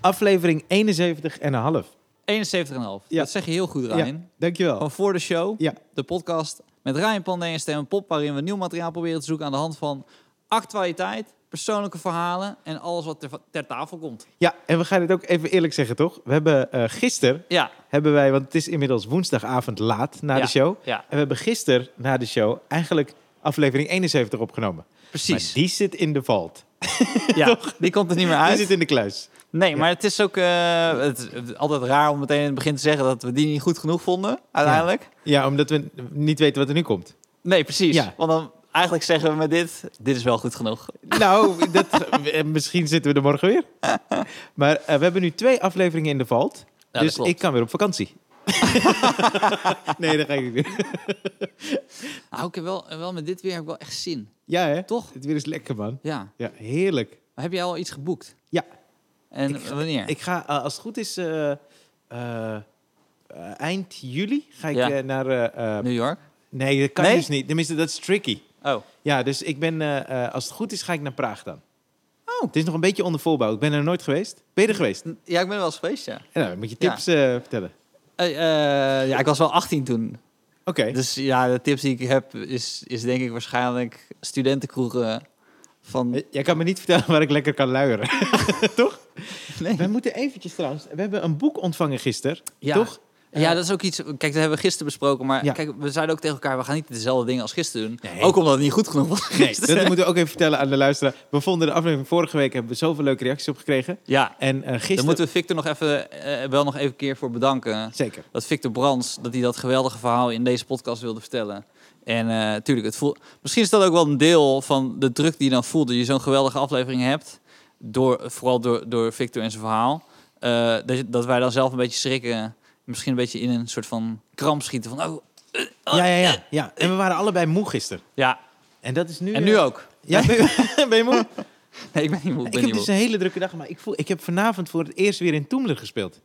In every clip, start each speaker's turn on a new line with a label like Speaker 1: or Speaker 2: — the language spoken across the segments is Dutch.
Speaker 1: Aflevering 71 en een half.
Speaker 2: 71,5.
Speaker 1: Ja.
Speaker 2: Dat zeg je heel goed, Ryan.
Speaker 1: Dankjewel.
Speaker 2: Gewoon voor de show,
Speaker 1: Ja.
Speaker 2: de podcast met Ryan Pandey en Stem Pop, waarin we nieuw materiaal proberen te zoeken aan de hand van actualiteit, persoonlijke verhalen en alles wat ter, ter tafel komt.
Speaker 1: Ja, en we gaan het ook even eerlijk zeggen, toch? We hebben eh gisteren,
Speaker 2: Ja,
Speaker 1: hebben wij, want het is inmiddels woensdagavond laat na
Speaker 2: Ja.
Speaker 1: de show.
Speaker 2: ja
Speaker 1: En we hebben gisteren na de show eigenlijk aflevering 71 opgenomen. Maar
Speaker 2: precies.
Speaker 1: die zit in de vault.
Speaker 2: ja, die komt er niet meer
Speaker 1: Die
Speaker 2: uit.
Speaker 1: zit in de kluis.
Speaker 2: Nee, maar het is ook eh, het, het- altijd raar om meteen in het begin te zeggen dat we die niet goed genoeg vonden, uiteindelijk.
Speaker 1: Ja, omdat we niet weten wat er nu komt.
Speaker 2: Nee, precies.
Speaker 1: Ja.
Speaker 2: Want dan eigenlijk zeggen we met dit, dit is wel goed genoeg.
Speaker 1: Nou, dat, eh, misschien zitten we er morgen weer. Maar eh, we hebben nu twee afleveringen in de vault.
Speaker 2: Ja, dat
Speaker 1: dus
Speaker 2: klopt.
Speaker 1: ik kan weer op vakantie. nee, dat ga ik niet doen.
Speaker 2: Nou, ik heb wel, wel met dit weer heb ik wel echt zin.
Speaker 1: Ja, hè?
Speaker 2: Toch?
Speaker 1: Het weer is lekker, man.
Speaker 2: Ja.
Speaker 1: Ja, heerlijk.
Speaker 2: Maar heb jij al iets geboekt?
Speaker 1: Ja.
Speaker 2: En
Speaker 1: Ik ga-
Speaker 2: wanneer?
Speaker 1: Ik ga, eh, als het goed is, eh, eh, eh, eind juli ga ik
Speaker 2: Ja.
Speaker 1: eh, naar... eh, eh,
Speaker 2: New York?
Speaker 1: nee, dat kan
Speaker 2: Nee?
Speaker 1: dus niet. Tenminste, dat is tricky.
Speaker 2: Oh.
Speaker 1: Ja, dus ik ben, eh, eh, als het goed is, ga ik naar Praag dan. Oh. Het is nog een beetje onder voorbouw. Ik ben er nooit geweest. Ben je er geweest?
Speaker 2: Ja, ik ben er wel eens geweest, ja.
Speaker 1: Ja, dan moet je
Speaker 2: Ja.
Speaker 1: tips eh, vertellen.
Speaker 2: Eh, eh, ja, ik was wel 18 toen.
Speaker 1: Oké.
Speaker 2: Dus ja, de tips die ik heb is, is denk ik waarschijnlijk studentenkroegen van...
Speaker 1: Eh, Jij kan me niet vertellen waar ik lekker kan luieren.
Speaker 2: Nee.
Speaker 1: We moeten eventjes trouwens... We hebben een boek ontvangen gisteren,
Speaker 2: Ja.
Speaker 1: toch? Eh,
Speaker 2: Ja, dat is ook iets... Kijk, dat hebben we gisteren besproken. Maar
Speaker 1: Ja.
Speaker 2: kijk, we zeiden ook tegen elkaar... we gaan niet dezelfde dingen als gisteren doen.
Speaker 1: Nee.
Speaker 2: Ook omdat het niet goed genoeg was
Speaker 1: Nee,
Speaker 2: gisteren.
Speaker 1: dat moeten we ook even vertellen aan de luisteraar. We vonden de aflevering vorige week... hebben we zoveel leuke reacties op gekregen.
Speaker 2: Ja,
Speaker 1: En eh,
Speaker 2: daar
Speaker 1: gisteren...
Speaker 2: moeten we Victor nog even, eh, wel nog even een keer voor bedanken.
Speaker 1: Zeker.
Speaker 2: Dat Victor Brands, dat hij dat geweldige verhaal in deze podcast wilde vertellen. En eh tuurlijk, het voelt, misschien is dat ook wel een deel van de druk die je dan voelt... dat je zo'n geweldige aflevering hebt. Door, vooral door, door Victor en zijn verhaal. Eh, dat, je- dat wij dan zelf een beetje schrikken. Misschien een beetje in een soort van kramp schieten. Van, oh,
Speaker 1: Ja, ja, ja, ja. En we waren allebei moe gisteren.
Speaker 2: ja,
Speaker 1: eh. En dat is nu...
Speaker 2: en
Speaker 1: eh,
Speaker 2: nu ook.
Speaker 1: Ja, ben je, ben je moe?
Speaker 2: Nee, ik ben niet moe. Ik
Speaker 1: ik
Speaker 2: ben
Speaker 1: heb
Speaker 2: niet
Speaker 1: dus
Speaker 2: moe.
Speaker 1: een hele drukke dag, maar ik, voel, ik heb vanavond voor het eerst weer in Toemler gespeeld.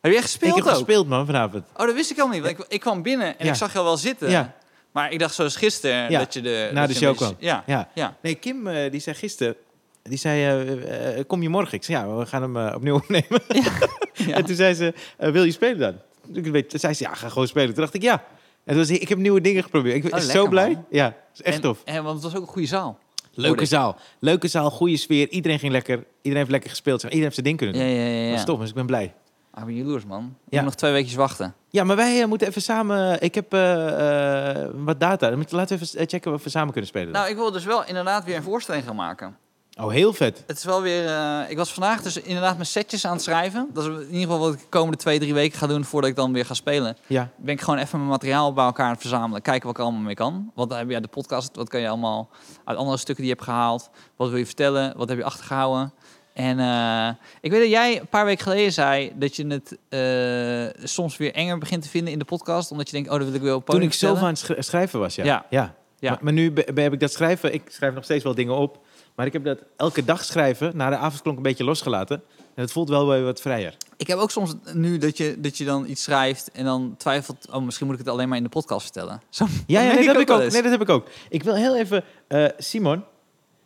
Speaker 2: Heb je echt gespeeld
Speaker 1: ik heb
Speaker 2: ook?
Speaker 1: gespeeld, man, vanavond.
Speaker 2: Oh, dat wist ik helemaal niet. Want ik, ik kwam binnen en
Speaker 1: Ja.
Speaker 2: ik zag jou wel zitten.
Speaker 1: Ja.
Speaker 2: Maar ik dacht zoals gisteren
Speaker 1: Ja, Nou, dus
Speaker 2: dat je de...
Speaker 1: na
Speaker 2: dat
Speaker 1: de
Speaker 2: je
Speaker 1: show
Speaker 2: een beetje- Ja.
Speaker 1: Ja.
Speaker 2: Ja.
Speaker 1: Nee, Kim, eh, die zei gisteren... Die zei, eh, eh, kom je morgen? Ik zei, ja, we gaan hem eh, opnieuw opnemen.
Speaker 2: ja.
Speaker 1: En toen zei ze, eh, wil je spelen dan? Toen ik weet, toen zei ze, ja, ga gewoon spelen. Toen dacht ik, ja. En toen was, ik heb nieuwe dingen geprobeerd. Ik ben
Speaker 2: Oh,
Speaker 1: zo
Speaker 2: lekker,
Speaker 1: blij.
Speaker 2: man.
Speaker 1: Ja, is echt
Speaker 2: en,
Speaker 1: tof.
Speaker 2: En, want het was ook een goede zaal.
Speaker 1: Leuke
Speaker 2: ik.
Speaker 1: zaal. Leuke zaal, goede sfeer. Iedereen ging lekker. Iedereen heeft lekker gespeeld. Zeg maar. Iedereen heeft zijn ding kunnen
Speaker 2: Ja,
Speaker 1: doen.
Speaker 2: ja, ja.
Speaker 1: Dat
Speaker 2: ja.
Speaker 1: is tof, dus ik ben blij.
Speaker 2: Ah, ik ben jaloers, man. Ik
Speaker 1: Ja.
Speaker 2: moet nog twee weekjes wachten.
Speaker 1: Ja, maar wij eh, moeten even samen... Ik heb eh, eh, wat data. Dan moeten- Laten we even eh, checken of we samen kunnen spelen. dan.
Speaker 2: Nou, ik wil dus wel inderdaad weer een voorstelling gaan maken.
Speaker 1: oh, heel vet.
Speaker 2: Het is wel weer... eh, ik was vandaag dus inderdaad mijn setjes aan het schrijven. Dat is in ieder geval wat ik de komende twee, drie weken ga doen voordat ik dan weer ga spelen.
Speaker 1: Ja.
Speaker 2: ben ik gewoon even mijn materiaal bij elkaar aan het verzamelen. Kijken wat ik er allemaal mee kan. Wat heb je uit de podcast? Wat kan je allemaal uit andere stukken die je hebt gehaald? Wat wil je vertellen? Wat heb je achtergehouden? En eh, ik weet dat jij een paar weken geleden zei dat je het eh, soms weer enger begint te vinden in de podcast. Omdat je denkt, oh, dat wil ik weer op het
Speaker 1: Toen
Speaker 2: podium
Speaker 1: ik zelf aan
Speaker 2: vertellen.
Speaker 1: het schri- schrijven was, ja.
Speaker 2: Ja. Ja.
Speaker 1: Maar, maar nu be- be- heb ik dat schrijven... Ik schrijf nog steeds wel dingen op. Maar ik heb dat elke dag schrijven... na de avondklonk een beetje losgelaten. En het voelt wel weer wat vrijer.
Speaker 2: Ik heb ook soms nu dat je, dat je dan iets schrijft en dan twijfelt, oh, misschien moet ik het alleen maar in de podcast vertellen. Zo
Speaker 1: Ja, ja
Speaker 2: merk
Speaker 1: nee, dat, heb ik
Speaker 2: wel
Speaker 1: ook.
Speaker 2: eens.
Speaker 1: nee dat heb ik ook. Ik wil heel even... eh, Simon,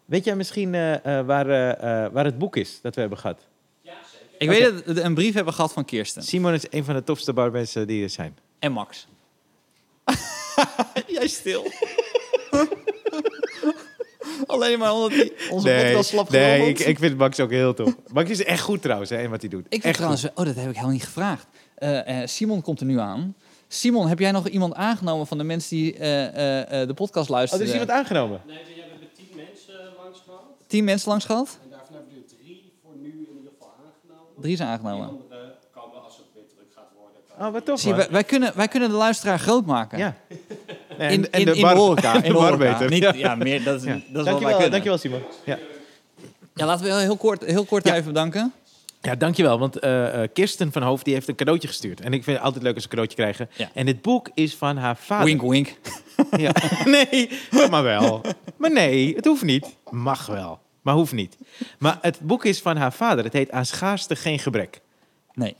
Speaker 1: weet jij misschien eh, eh, waar, eh, eh, waar het boek is dat we hebben gehad?
Speaker 2: Ik
Speaker 1: Oké.
Speaker 2: weet dat we een brief hebben gehad van Kirsten
Speaker 1: Simon is een van de tofste barmensen die er zijn.
Speaker 2: en Max. Jij stil. Alleen maar omdat hij onze podcast slap
Speaker 1: nee
Speaker 2: gerommeld.
Speaker 1: ik, ik vind Max ook heel tof. Max is echt goed trouwens, hè, in wat hij doet.
Speaker 2: Ik vind
Speaker 1: echt
Speaker 2: trouwens, oh, dat heb ik helemaal niet gevraagd. Eh, eh, Simon komt er nu aan. Simon, heb jij nog iemand aangenomen van de mensen die eh, eh, eh, de podcast
Speaker 1: goed. Oh, er
Speaker 2: luisteren?
Speaker 1: is iemand aangenomen.
Speaker 3: Nee, we hebben tien mensen eh, langs gehad.
Speaker 2: Tien mensen langs gehad?
Speaker 3: En daarvan hebben we er drie voor nu in ieder geval aangenomen.
Speaker 2: Drie zijn
Speaker 3: Die
Speaker 2: aangenomen.
Speaker 3: andere komen als het weer druk gaat worden.
Speaker 1: Oh, wat tof,
Speaker 2: Zie je,
Speaker 1: man.
Speaker 2: wij, wij kunnen, wij kunnen de luisteraar groot maken.
Speaker 1: Ja. Nee,
Speaker 2: In, in, in
Speaker 1: bar-
Speaker 2: de horeca.
Speaker 1: de
Speaker 2: In de
Speaker 1: bar
Speaker 2: horeca.
Speaker 1: beter.
Speaker 2: Niet,
Speaker 1: Ja.
Speaker 2: ja. meer, dat is,
Speaker 1: Ja.
Speaker 2: dat is wat wij
Speaker 1: Dankjewel,
Speaker 2: kunnen.
Speaker 1: dankjewel Simon. Ja.
Speaker 2: Ja, laten we heel- heel kort, heel kort
Speaker 1: Ja.
Speaker 2: even bedanken.
Speaker 1: ja, dankjewel. Want eh, eh, Kirsten van Hoofd die heeft een cadeautje gestuurd. En ik vind het altijd leuk als ze een cadeautje krijgen.
Speaker 2: Ja.
Speaker 1: En dit boek is van haar vader.
Speaker 2: Wink, wink.
Speaker 1: Ja. Nee, maar wel. Maar nee, het hoeft niet. Mag wel, maar hoeft niet. Maar het boek is van haar vader. Het heet Aan schaarste geen gebrek.
Speaker 2: Nee.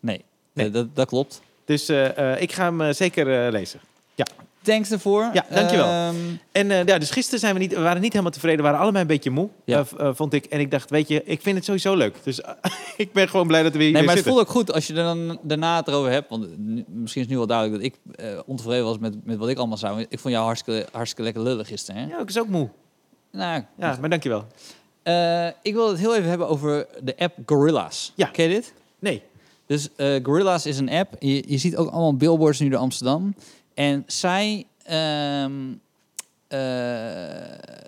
Speaker 2: Nee.
Speaker 1: Nee.
Speaker 2: Eh, dat, dat klopt.
Speaker 1: Dus eh, eh, ik ga hem eh, zeker eh, lezen. Ja.
Speaker 2: Thanks daarvoor.
Speaker 1: Ja, dankjewel.
Speaker 2: Ehm,
Speaker 1: En eh, ja, dus gisteren zijn we, niet, we waren niet helemaal tevreden. We waren allebei een beetje moe,
Speaker 2: Ja.
Speaker 1: eh, v- eh, vond ik. En ik dacht, weet je, ik vind het sowieso leuk. Dus eh, ik ben gewoon blij dat we hier
Speaker 2: nee,
Speaker 1: weer
Speaker 2: maar het
Speaker 1: zitten.
Speaker 2: voelt ook goed als je er dan daarna het erover hebt. Want nu- misschien is nu wel duidelijk dat ik eh, ontevreden was met, met wat ik allemaal zou. Ik vond jou hartstikke, hartstikke lekker lullig gisteren. Hè?
Speaker 1: Ja, ik is ook moe.
Speaker 2: Nou,
Speaker 1: Ja, maar dankjewel.
Speaker 2: eh, ik wil het heel even hebben over de app Gorillas.
Speaker 1: Ja.
Speaker 2: Ken je dit?
Speaker 1: Nee.
Speaker 2: Dus eh Gorillas is een app. Je, je ziet ook allemaal billboards nu door Amsterdam. En zij ehm, eh,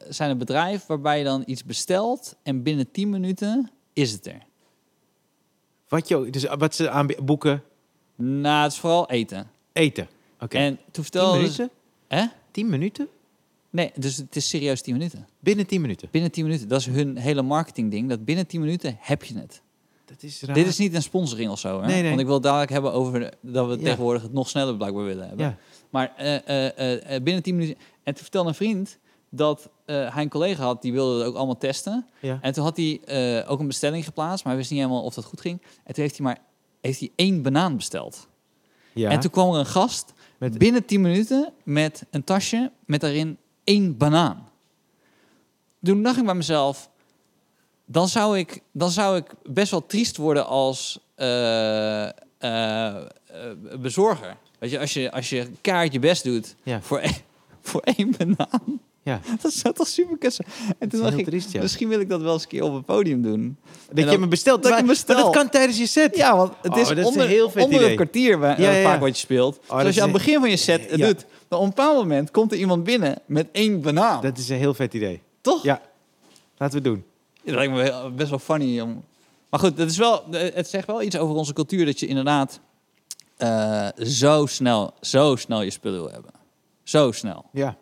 Speaker 2: zijn een bedrijf waarbij je dan iets bestelt en binnen 10 minuten is het er.
Speaker 1: Wat, joh, dus eh, wat ze aanbieden, boeken,
Speaker 2: Nou, het is vooral eten.
Speaker 1: eten. Oké.
Speaker 2: En toen
Speaker 1: Tien
Speaker 2: vertelde ze...
Speaker 1: minuten?
Speaker 2: Hè?
Speaker 1: Tien minuten?
Speaker 2: Nee, dus het is serieus 10 minuten.
Speaker 1: Binnen tien minuten.
Speaker 2: Binnen 10 minuten. Dat is hun hele marketingding. Dat binnen 10 minuten heb je het.
Speaker 1: Dat is raar.
Speaker 2: Dit is niet een sponsoring of zo. Hè?
Speaker 1: Nee, nee.
Speaker 2: Want ik wil het dadelijk hebben over de- dat we
Speaker 1: Ja.
Speaker 2: tegenwoordig het nog sneller blijkbaar willen hebben.
Speaker 1: Ja.
Speaker 2: Maar eh, eh, eh, eh, binnen 10 minuten. En toen vertelde een vriend dat eh, hij een collega had die wilde het ook allemaal testen.
Speaker 1: ja.
Speaker 2: En toen had hij eh, ook een bestelling geplaatst, maar hij wist niet helemaal of dat goed ging. En toen heeft hij maar heeft hij één banaan besteld.
Speaker 1: ja.
Speaker 2: En toen kwam er een gast
Speaker 1: Met-
Speaker 2: binnen 10 minuten met een tasje met daarin één banaan. Toen dacht ik bij mezelf, dan zou ik, dan zou ik best wel triest worden als eh, eh, eh, bezorger. Weet je, als je, als je kaart je best doet
Speaker 1: Ja.
Speaker 2: voor, één- voor één banaan,
Speaker 1: ja.
Speaker 2: dat zou toch super kussen. En toen
Speaker 1: heel
Speaker 2: dacht ik,
Speaker 1: triest, ja.
Speaker 2: misschien wil ik dat wel eens een keer op het podium doen.
Speaker 1: Dat
Speaker 2: dan-
Speaker 1: je me bestelt.
Speaker 2: dat ik
Speaker 1: maar,
Speaker 2: hem bestel.
Speaker 1: maar dat kan tijdens je set.
Speaker 2: Ja, want het
Speaker 1: Oh,
Speaker 2: is
Speaker 1: dat is
Speaker 2: onder,
Speaker 1: een heel vet
Speaker 2: onder
Speaker 1: idee.
Speaker 2: een kwartier wa-
Speaker 1: Ja,
Speaker 2: eh,
Speaker 1: ja,
Speaker 2: vaak
Speaker 1: ja. Oh,
Speaker 2: wat je speelt. dus
Speaker 1: dat
Speaker 2: als
Speaker 1: is
Speaker 2: je aan
Speaker 1: een-
Speaker 2: het begin van je set het
Speaker 1: Ja.
Speaker 2: doet, dan op een bepaald moment komt er iemand binnen met één banaan.
Speaker 1: Dat is een heel vet idee.
Speaker 2: Toch?
Speaker 1: Ja. Laten we het doen.
Speaker 2: Ja, Dat lijkt me wel- best wel funny. Om... Maar goed, dat is wel, het zegt wel iets over onze cultuur dat je inderdaad eh, zo, snel, zo snel je spullen wil hebben. Zo snel.
Speaker 1: Ja.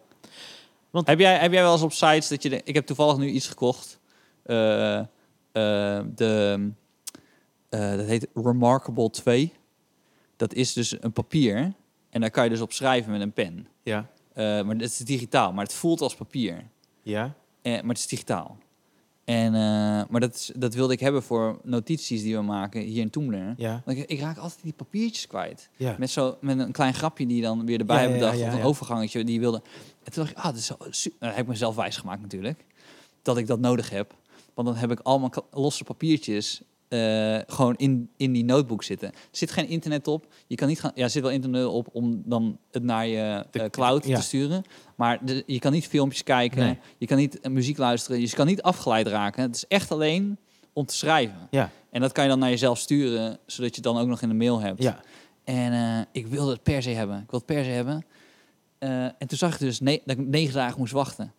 Speaker 2: Heb jij, heb jij wel eens op sites dat je... denkt, ik heb toevallig nu iets gekocht. eh, eh, de, eh, dat heet Remarkable 2. Dat is dus een papier. En daar kan je dus op schrijven met een pen.
Speaker 1: Ja.
Speaker 2: Eh, maar het is digitaal. Maar het voelt als papier.
Speaker 1: Ja.
Speaker 2: Eh, maar het is digitaal. En, eh, maar dat, is- dat wilde ik hebben voor notities die we maken hier in Toemler.
Speaker 1: Ja.
Speaker 2: Want Ik, ik raak altijd die papiertjes kwijt.
Speaker 1: Ja.
Speaker 2: Met, zo, met een klein grapje die je dan weer erbij
Speaker 1: Ja,
Speaker 2: hebt
Speaker 1: ja,
Speaker 2: bedacht.
Speaker 1: ja,
Speaker 2: of een
Speaker 1: ja.
Speaker 2: overgangetje die je wilde. En toen dacht ik, ah, dat is zo su- Nou, dat heb ik mezelf wijsgemaakt natuurlijk. Dat ik dat nodig heb. Want dan heb ik allemaal kla- losse papiertjes eh, gewoon in, in die notebook zitten. Er zit geen internet op. Je kan niet gaan, ja, er zit wel internet op om dan het naar je
Speaker 1: De-
Speaker 2: eh, cloud
Speaker 1: ja.
Speaker 2: te sturen. Maar de- je kan niet filmpjes kijken.
Speaker 1: Nee.
Speaker 2: Je kan niet eh, muziek luisteren. Je kan niet afgeleid raken. Het is echt alleen om te schrijven.
Speaker 1: Ja.
Speaker 2: En dat kan je dan naar jezelf sturen, zodat je het dan ook nog in de mail hebt.
Speaker 1: Ja.
Speaker 2: En eh, ik wilde het per se hebben. Ik wil het per se hebben. Eh, en toen zag ik dus ne- dat ik negen dagen moest wachten.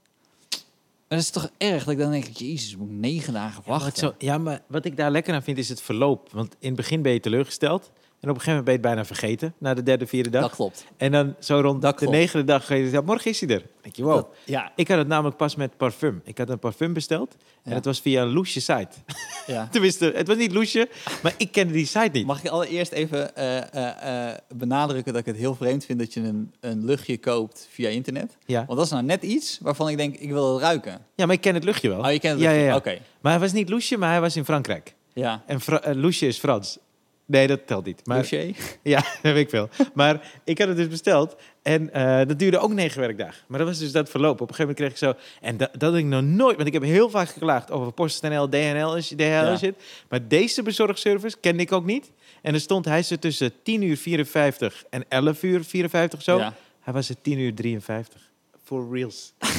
Speaker 2: Maar dat is toch erg dat ik dan denk, jezus, moet ik negen dagen
Speaker 1: Ja, maar
Speaker 2: wachten?
Speaker 1: het zo- ja, maar wat ik daar lekker aan vind is het verloop. Want in het begin ben je teleurgesteld. En op een gegeven moment ben je het bijna vergeten. Na de derde, vierde dag.
Speaker 2: dat klopt.
Speaker 1: En dan zo rond
Speaker 2: Dat
Speaker 1: de
Speaker 2: klopt.
Speaker 1: negende dag ga je zeggen, morgen is hij er. Dan denk je, wow.
Speaker 2: Dat- ja,
Speaker 1: Ik had het namelijk pas met parfum. Ik had een parfum besteld. En
Speaker 2: Ja.
Speaker 1: het was via een loesje site.
Speaker 2: ja.
Speaker 1: Tenminste, het was niet loesje, maar ik kende die site niet.
Speaker 2: Mag ik allereerst even eh, eh, eh, benadrukken dat ik het heel vreemd vind dat je een, een luchtje koopt via internet?
Speaker 1: Ja.
Speaker 2: Want dat is nou net iets waarvan ik denk, ik wil het ruiken.
Speaker 1: ja, maar ik ken het luchtje wel.
Speaker 2: Oh, je kent het
Speaker 1: Ja,
Speaker 2: luchtje.
Speaker 1: ja, ja.
Speaker 2: Oké,
Speaker 1: Maar hij was niet loesje, maar hij was in Frankrijk.
Speaker 2: ja.
Speaker 1: En Fra- eh, loesje is Frans. Nee, dat telt niet. Maar,
Speaker 2: Touché.
Speaker 1: Ja, dat weet ik veel. Maar ik had het dus besteld. En eh, dat duurde ook negen werkdagen. Maar dat was dus dat verloop. Op een gegeven moment kreeg ik zo... En da- dat had ik nog nooit... Want ik heb heel vaak geklaagd over PostNL, DHL en sh- DHL
Speaker 2: Ja.
Speaker 1: en shit. Maar deze bezorgservice kende ik ook niet. En er stond hij ze tussen 10 uur 54 en 11 uur 54 zo.
Speaker 2: Ja.
Speaker 1: Hij was er 10 uur 53. For reals. Toen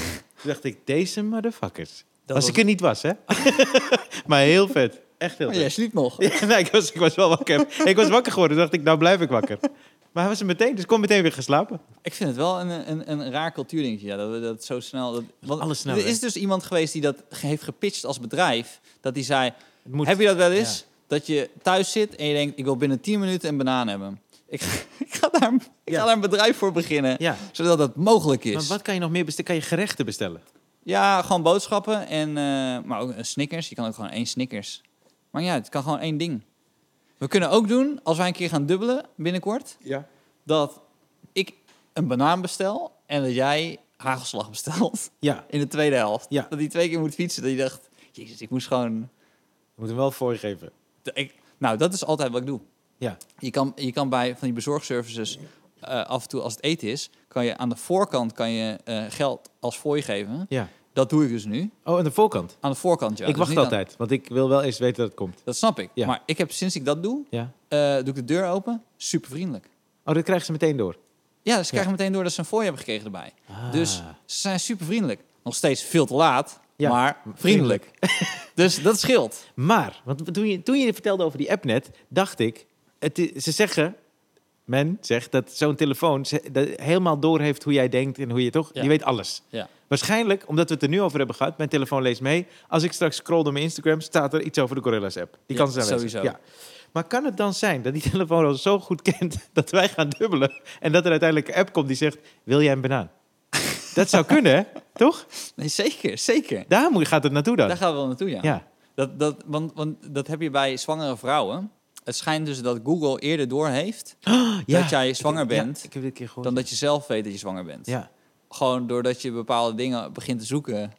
Speaker 1: dacht ik, deze motherfuckers.
Speaker 2: Dat
Speaker 1: Als
Speaker 2: was-
Speaker 1: ik er niet was, hè. maar heel vet. Echt heel
Speaker 2: Maar
Speaker 1: vet.
Speaker 2: Oh, jij sliep nog.
Speaker 1: Ja, nee, ik, was, ik was wel wakker. ik was wakker geworden. Toen dacht ik, nou blijf ik wakker. Maar hij was er meteen, dus ik kon meteen weer gaan slapen.
Speaker 2: Ik vind het wel een, een, een raar cultuurdingetje. Ja, dat we dat zo snel. Dat, want
Speaker 1: alles snel,
Speaker 2: Er
Speaker 1: hè?
Speaker 2: is dus iemand geweest die dat ge- heeft gepitcht als bedrijf. Dat die zei:
Speaker 1: Het moet.
Speaker 2: Heb je dat wel eens? Dat je thuis zit en je denkt: Ik wil binnen 10 minuten een banaan hebben. Ik, ga- ik, ga, daar, ik
Speaker 1: Ja.
Speaker 2: ga daar een bedrijf voor beginnen.
Speaker 1: Ja. dus-
Speaker 2: Zodat dat mogelijk is.
Speaker 1: Maar wat kan je nog meer bestellen? Kan je gerechten bestellen?
Speaker 2: Ja, gewoon boodschappen. En, eh, maar ook een Snickers. Je kan ook gewoon één Snickers. Maar ja, het kan gewoon één ding. We kunnen ook doen, als wij een keer gaan dubbelen binnenkort.
Speaker 1: Ja.
Speaker 2: dat ik een banaan bestel en dat jij hagelslag bestelt
Speaker 1: Ja,
Speaker 2: in de tweede helft.
Speaker 1: Ja.
Speaker 2: Dat hij twee keer moet fietsen. Dat je dacht, jezus, ik moest gewoon...
Speaker 1: je moet hem wel voorgeven.
Speaker 2: Ik, nou, dat is altijd wat ik doe.
Speaker 1: Ja.
Speaker 2: Je kan, je kan bij van die bezorgservices eh, af en toe als het eten is, kan je aan de voorkant kan je, eh, geld als fooi geven.
Speaker 1: Ja.
Speaker 2: Dat doe ik dus nu.
Speaker 1: Oh, aan de voorkant.
Speaker 2: Aan de voorkant, ja.
Speaker 1: ik
Speaker 2: Dus
Speaker 1: wacht
Speaker 2: niet aan-
Speaker 1: altijd, want ik wil wel eens weten dat het komt.
Speaker 2: dat snap ik.
Speaker 1: Ja.
Speaker 2: Maar ik heb sinds ik dat doe,
Speaker 1: Ja.
Speaker 2: eh, doe ik de deur open. Super vriendelijk.
Speaker 1: Oh, dat krijgen ze meteen door.
Speaker 2: Ja, dus ze krijgen meteen door dat ze een fooi hebben gekregen erbij. Dus
Speaker 1: Ah.
Speaker 2: ze zijn super vriendelijk. Nog steeds veel te laat,
Speaker 1: Ja,
Speaker 2: maar vriendelijk. dus dat scheelt.
Speaker 1: Maar, want toen je, toen je dit vertelde over die app net, dacht ik... Het, i- ze zeggen, men zegt dat zo'n telefoon ze- dat helemaal door heeft hoe jij denkt en hoe je toch...
Speaker 2: Ja.
Speaker 1: Die weet alles.
Speaker 2: Ja.
Speaker 1: Waarschijnlijk, omdat we het er nu over hebben gehad, mijn telefoon leest mee. Als ik straks scroll door mijn Instagram, staat er iets over de Gorillas app. Die
Speaker 2: Ja,
Speaker 1: kans is aanwezig.
Speaker 2: sowieso.
Speaker 1: Ja. Maar kan het dan zijn dat die telefoon al zo goed kent dat wij gaan dubbelen en dat er uiteindelijk een app komt die zegt: Wil jij een banaan? dat zou kunnen, hè? toch?
Speaker 2: Nee, zeker, zeker.
Speaker 1: Daar moet, gaat het naartoe dan.
Speaker 2: Daar gaan we wel naartoe, ja.
Speaker 1: Ja.
Speaker 2: Dat, dat, want, want dat heb je bij zwangere vrouwen. Het schijnt dus dat Google eerder doorheeft
Speaker 1: Ja.
Speaker 2: dat jij zwanger
Speaker 1: Ja,
Speaker 2: bent...
Speaker 1: ik heb dit een keer gehoord.
Speaker 2: dan dat je zelf weet dat je zwanger bent.
Speaker 1: Ja.
Speaker 2: Gewoon doordat je bepaalde dingen begint te zoeken.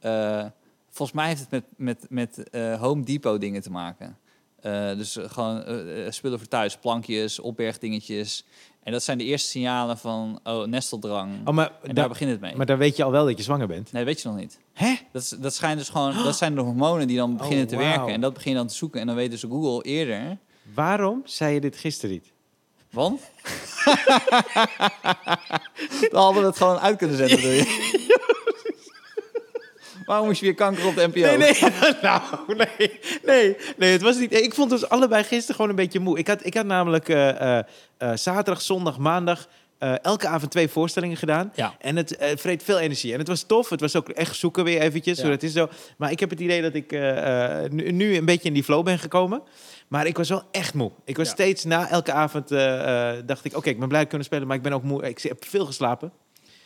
Speaker 2: Eh, volgens mij heeft het met, met, met eh, Home Depot dingen te maken. Eh, dus eh, gewoon eh, eh, spullen voor thuis, plankjes, opbergdingetjes. En dat zijn de eerste signalen van, oh, nesteldrang.
Speaker 1: Oh, maar,
Speaker 2: en daar
Speaker 1: daar,
Speaker 2: begint het mee.
Speaker 1: maar dan weet je al wel dat je zwanger bent.
Speaker 2: Nee, weet je nog niet.
Speaker 1: Hè?
Speaker 2: Dat, is- dat, schijnt dus gewoon, dat zijn de hormonen die dan beginnen te
Speaker 1: Oh, wauw.
Speaker 2: werken. En dat begin je dan te zoeken. En dan weet dus Google eerder.
Speaker 1: Waarom zei je dit gisteren niet?
Speaker 2: Want? Dan hadden we het gewoon uit kunnen zetten, bedoel je? Waarom moest je weer kanker op de NPO?
Speaker 1: Nee, nee, nou, nee, nee, nee, het was niet. Ik vond ons allebei gisteren gewoon een beetje moe. Ik had, ik had namelijk eh, eh, eh, zaterdag, zondag, maandag eh, elke avond twee voorstellingen gedaan.
Speaker 2: Ja.
Speaker 1: En het eh, vreet veel energie. En het was tof. Het was ook echt zoeken weer eventjes.
Speaker 2: Ja.
Speaker 1: Zo, dat is zo. Maar ik heb het idee dat ik eh, eh, nu, nu een beetje in die flow ben gekomen. Maar ik was wel echt moe. Ik was
Speaker 2: Ja.
Speaker 1: steeds na elke avond eh, eh, dacht ik, oké, ik ben blij te kunnen spelen, maar ik ben ook moe. Ik heb veel geslapen.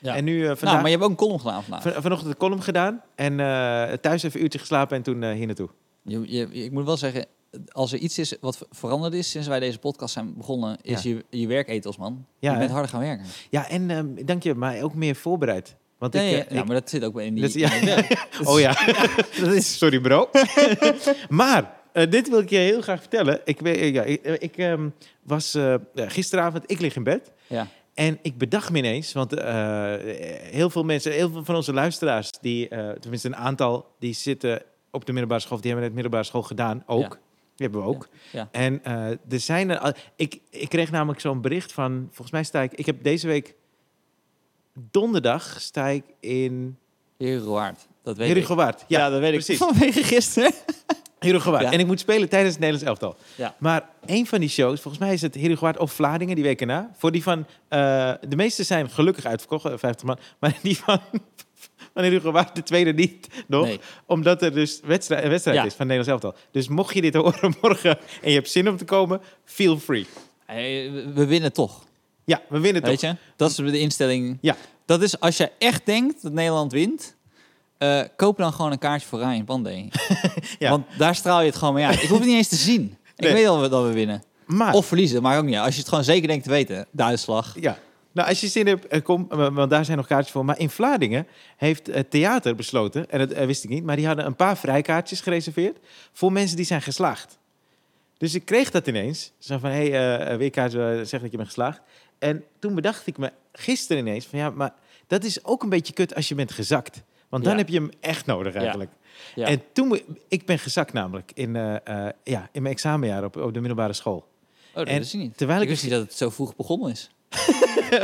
Speaker 2: Ja.
Speaker 1: En nu eh,
Speaker 2: Nou,
Speaker 1: vandaag,
Speaker 2: maar je hebt ook een column gedaan vandaag.
Speaker 1: van- vanochtend de column gedaan en eh, thuis even een uurtje geslapen en toen eh, hier naartoe.
Speaker 2: Je, je, ik moet wel zeggen, als er iets is wat ver- veranderd is sinds wij deze podcast zijn begonnen, is je, je werketels, man.
Speaker 1: Ja,
Speaker 2: je bent
Speaker 1: hè?
Speaker 2: harder gaan werken.
Speaker 1: Ja, en ehm, dank je, maar ook meer voorbereid. Want
Speaker 2: Nee,
Speaker 1: ik,
Speaker 2: ja,
Speaker 1: eh,
Speaker 2: ja,
Speaker 1: ik-
Speaker 2: maar dat zit ook in die...
Speaker 1: dat- ja.
Speaker 2: in die-
Speaker 1: Oh ja, dat is... sorry bro. maar, eh, dit wil ik je heel graag vertellen. Ik, weet- eh, ja, ik, eh, ik ehm, was eh, ja, gisteravond, ik lig in bed.
Speaker 2: ja.
Speaker 1: En ik bedacht me ineens, want eh, heel veel mensen, heel veel van onze luisteraars, die, eh, tenminste een aantal, die zitten op de middelbare school, of die hebben het middelbare school gedaan, ook.
Speaker 2: Ja.
Speaker 1: Die hebben we ook.
Speaker 2: Ja.
Speaker 1: En eh, er zijn er, al- ik, ik kreeg namelijk zo'n bericht van, volgens mij sta ik, ik heb deze week, donderdag sta ik in
Speaker 2: Herengewaard, dat weet ik.
Speaker 1: Herugowaard. Ja,
Speaker 2: dat weet ik.
Speaker 1: precies.
Speaker 2: Vanwege gisteren.
Speaker 1: Herugowaard.
Speaker 2: Ja.
Speaker 1: En ik moet spelen tijdens het Nederlands elftal.
Speaker 2: Ja.
Speaker 1: Maar een van die shows, volgens mij is het Herugowaard of Vlaardingen die week erna. Voor die van, eh, de meeste zijn gelukkig uitverkocht, eh, 50 man. Maar die van, van Herugowaard, de tweede niet nog.
Speaker 2: Nee.
Speaker 1: Omdat er dus wedstrijd, een wedstrijd
Speaker 2: Ja.
Speaker 1: is van Nederlands elftal. Dus mocht je dit horen morgen en je hebt zin om te komen, feel free.
Speaker 2: Hey, we- we winnen toch.
Speaker 1: Ja, we winnen toch.
Speaker 2: Weet je? Dat is de instelling.
Speaker 1: Ja.
Speaker 2: Dat is als je echt denkt dat Nederland wint. eh, koop dan gewoon een kaartje voor Ryan Pandey.
Speaker 1: Ja.
Speaker 2: Want daar straal je het gewoon mee uit. Ik hoef het niet eens te zien.
Speaker 1: Nee. Ah.
Speaker 2: Ik weet al we- dat we winnen.
Speaker 1: Maar,
Speaker 2: Of verliezen, maar ook niet. uit. Als je het gewoon zeker denkt te weten. De uitslag.
Speaker 1: ja. Nou, als je zin hebt, eh, kom, eh, want daar zijn nog kaartjes voor. Maar in Vlaardingen heeft het theater besloten, en dat eh, wist ik niet, maar die hadden een paar vrijkaartjes gereserveerd voor mensen die zijn geslaagd. Dus ik kreeg dat ineens. Zo van, hé, hey, eh, weerkaart, eh, zeg dat je bent geslaagd. En toen bedacht ik me gisteren ineens van, ja, maar dat is ook een beetje kut als je bent gezakt. Want dan
Speaker 2: Ja.
Speaker 1: heb je hem echt nodig eigenlijk.
Speaker 2: Ja.
Speaker 1: En toen, mo- ik ben gezakt namelijk in, eh, eh, ja, in mijn examenjaar op, op de middelbare school.
Speaker 2: Oh, dat
Speaker 1: en
Speaker 2: wist ik niet.
Speaker 1: terwijl
Speaker 2: ik
Speaker 1: ik-
Speaker 2: wist niet dat het zo vroeg begonnen is.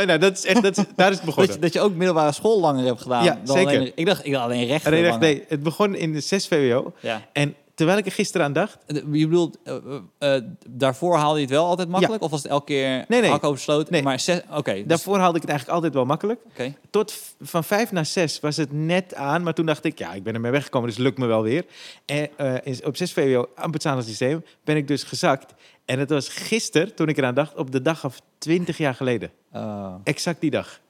Speaker 1: nou, dat is echt, dat is, daar is het begonnen.
Speaker 2: Dat je, dat je ook middelbare school langer hebt gedaan.
Speaker 1: Ja,
Speaker 2: dan
Speaker 1: zeker.
Speaker 2: alleen- ik, dacht, ik dacht alleen recht.
Speaker 1: Nee, nee, nee, het begon in de 6 VWO.
Speaker 2: Ja.
Speaker 1: En terwijl ik er gisteren aan dacht...
Speaker 2: De- Je bedoelt, eh, eh, eh, daarvoor haalde je het wel altijd makkelijk? Of was het elke keer
Speaker 1: Nee, nee.
Speaker 2: hak over sloot?
Speaker 1: Nee.
Speaker 2: Maar zes, oké. dus-
Speaker 1: Daarvoor haalde ik het eigenlijk altijd wel makkelijk.
Speaker 2: oké.
Speaker 1: Tot v- van 5 naar 6 was het net aan. Maar toen dacht ik, ja, ik ben ermee weggekomen, dus lukt me wel weer. En eh, is- op 6 VWO, ambtshandels systeem, ben ik dus gezakt. En het was gisteren, toen ik eraan dacht, op de dag af 20 jaar geleden. Eh,
Speaker 2: Oh.
Speaker 1: Exact die dag.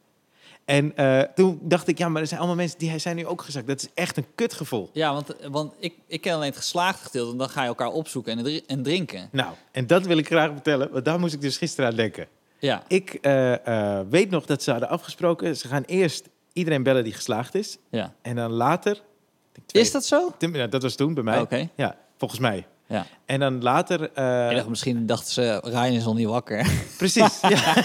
Speaker 1: En eh, toen dacht ik, ja, maar er zijn allemaal mensen die zijn nu ook gezakt. Dat is echt een kutgevoel.
Speaker 2: Ja, want, want ik, ik ken alleen het geslaagde gedeelte. En dan ga je elkaar opzoeken en, dri- en drinken.
Speaker 1: Nou, en dat wil ik graag vertellen, want daar moest ik dus gisteren aan denken.
Speaker 2: Ja.
Speaker 1: Ik eh, eh, weet nog dat ze hadden afgesproken. Ze gaan eerst iedereen bellen die geslaagd is.
Speaker 2: ja.
Speaker 1: En dan later. ik denk twee-
Speaker 2: Is dat zo? Oh,
Speaker 1: Tim- ja, dat was toen bij mij.
Speaker 2: Oké.
Speaker 1: Ja, volgens mij.
Speaker 2: Ja.
Speaker 1: En dan later... eh,
Speaker 2: Ik dacht, misschien dachten ze, Ryan is nog niet wakker.
Speaker 1: Precies, ja.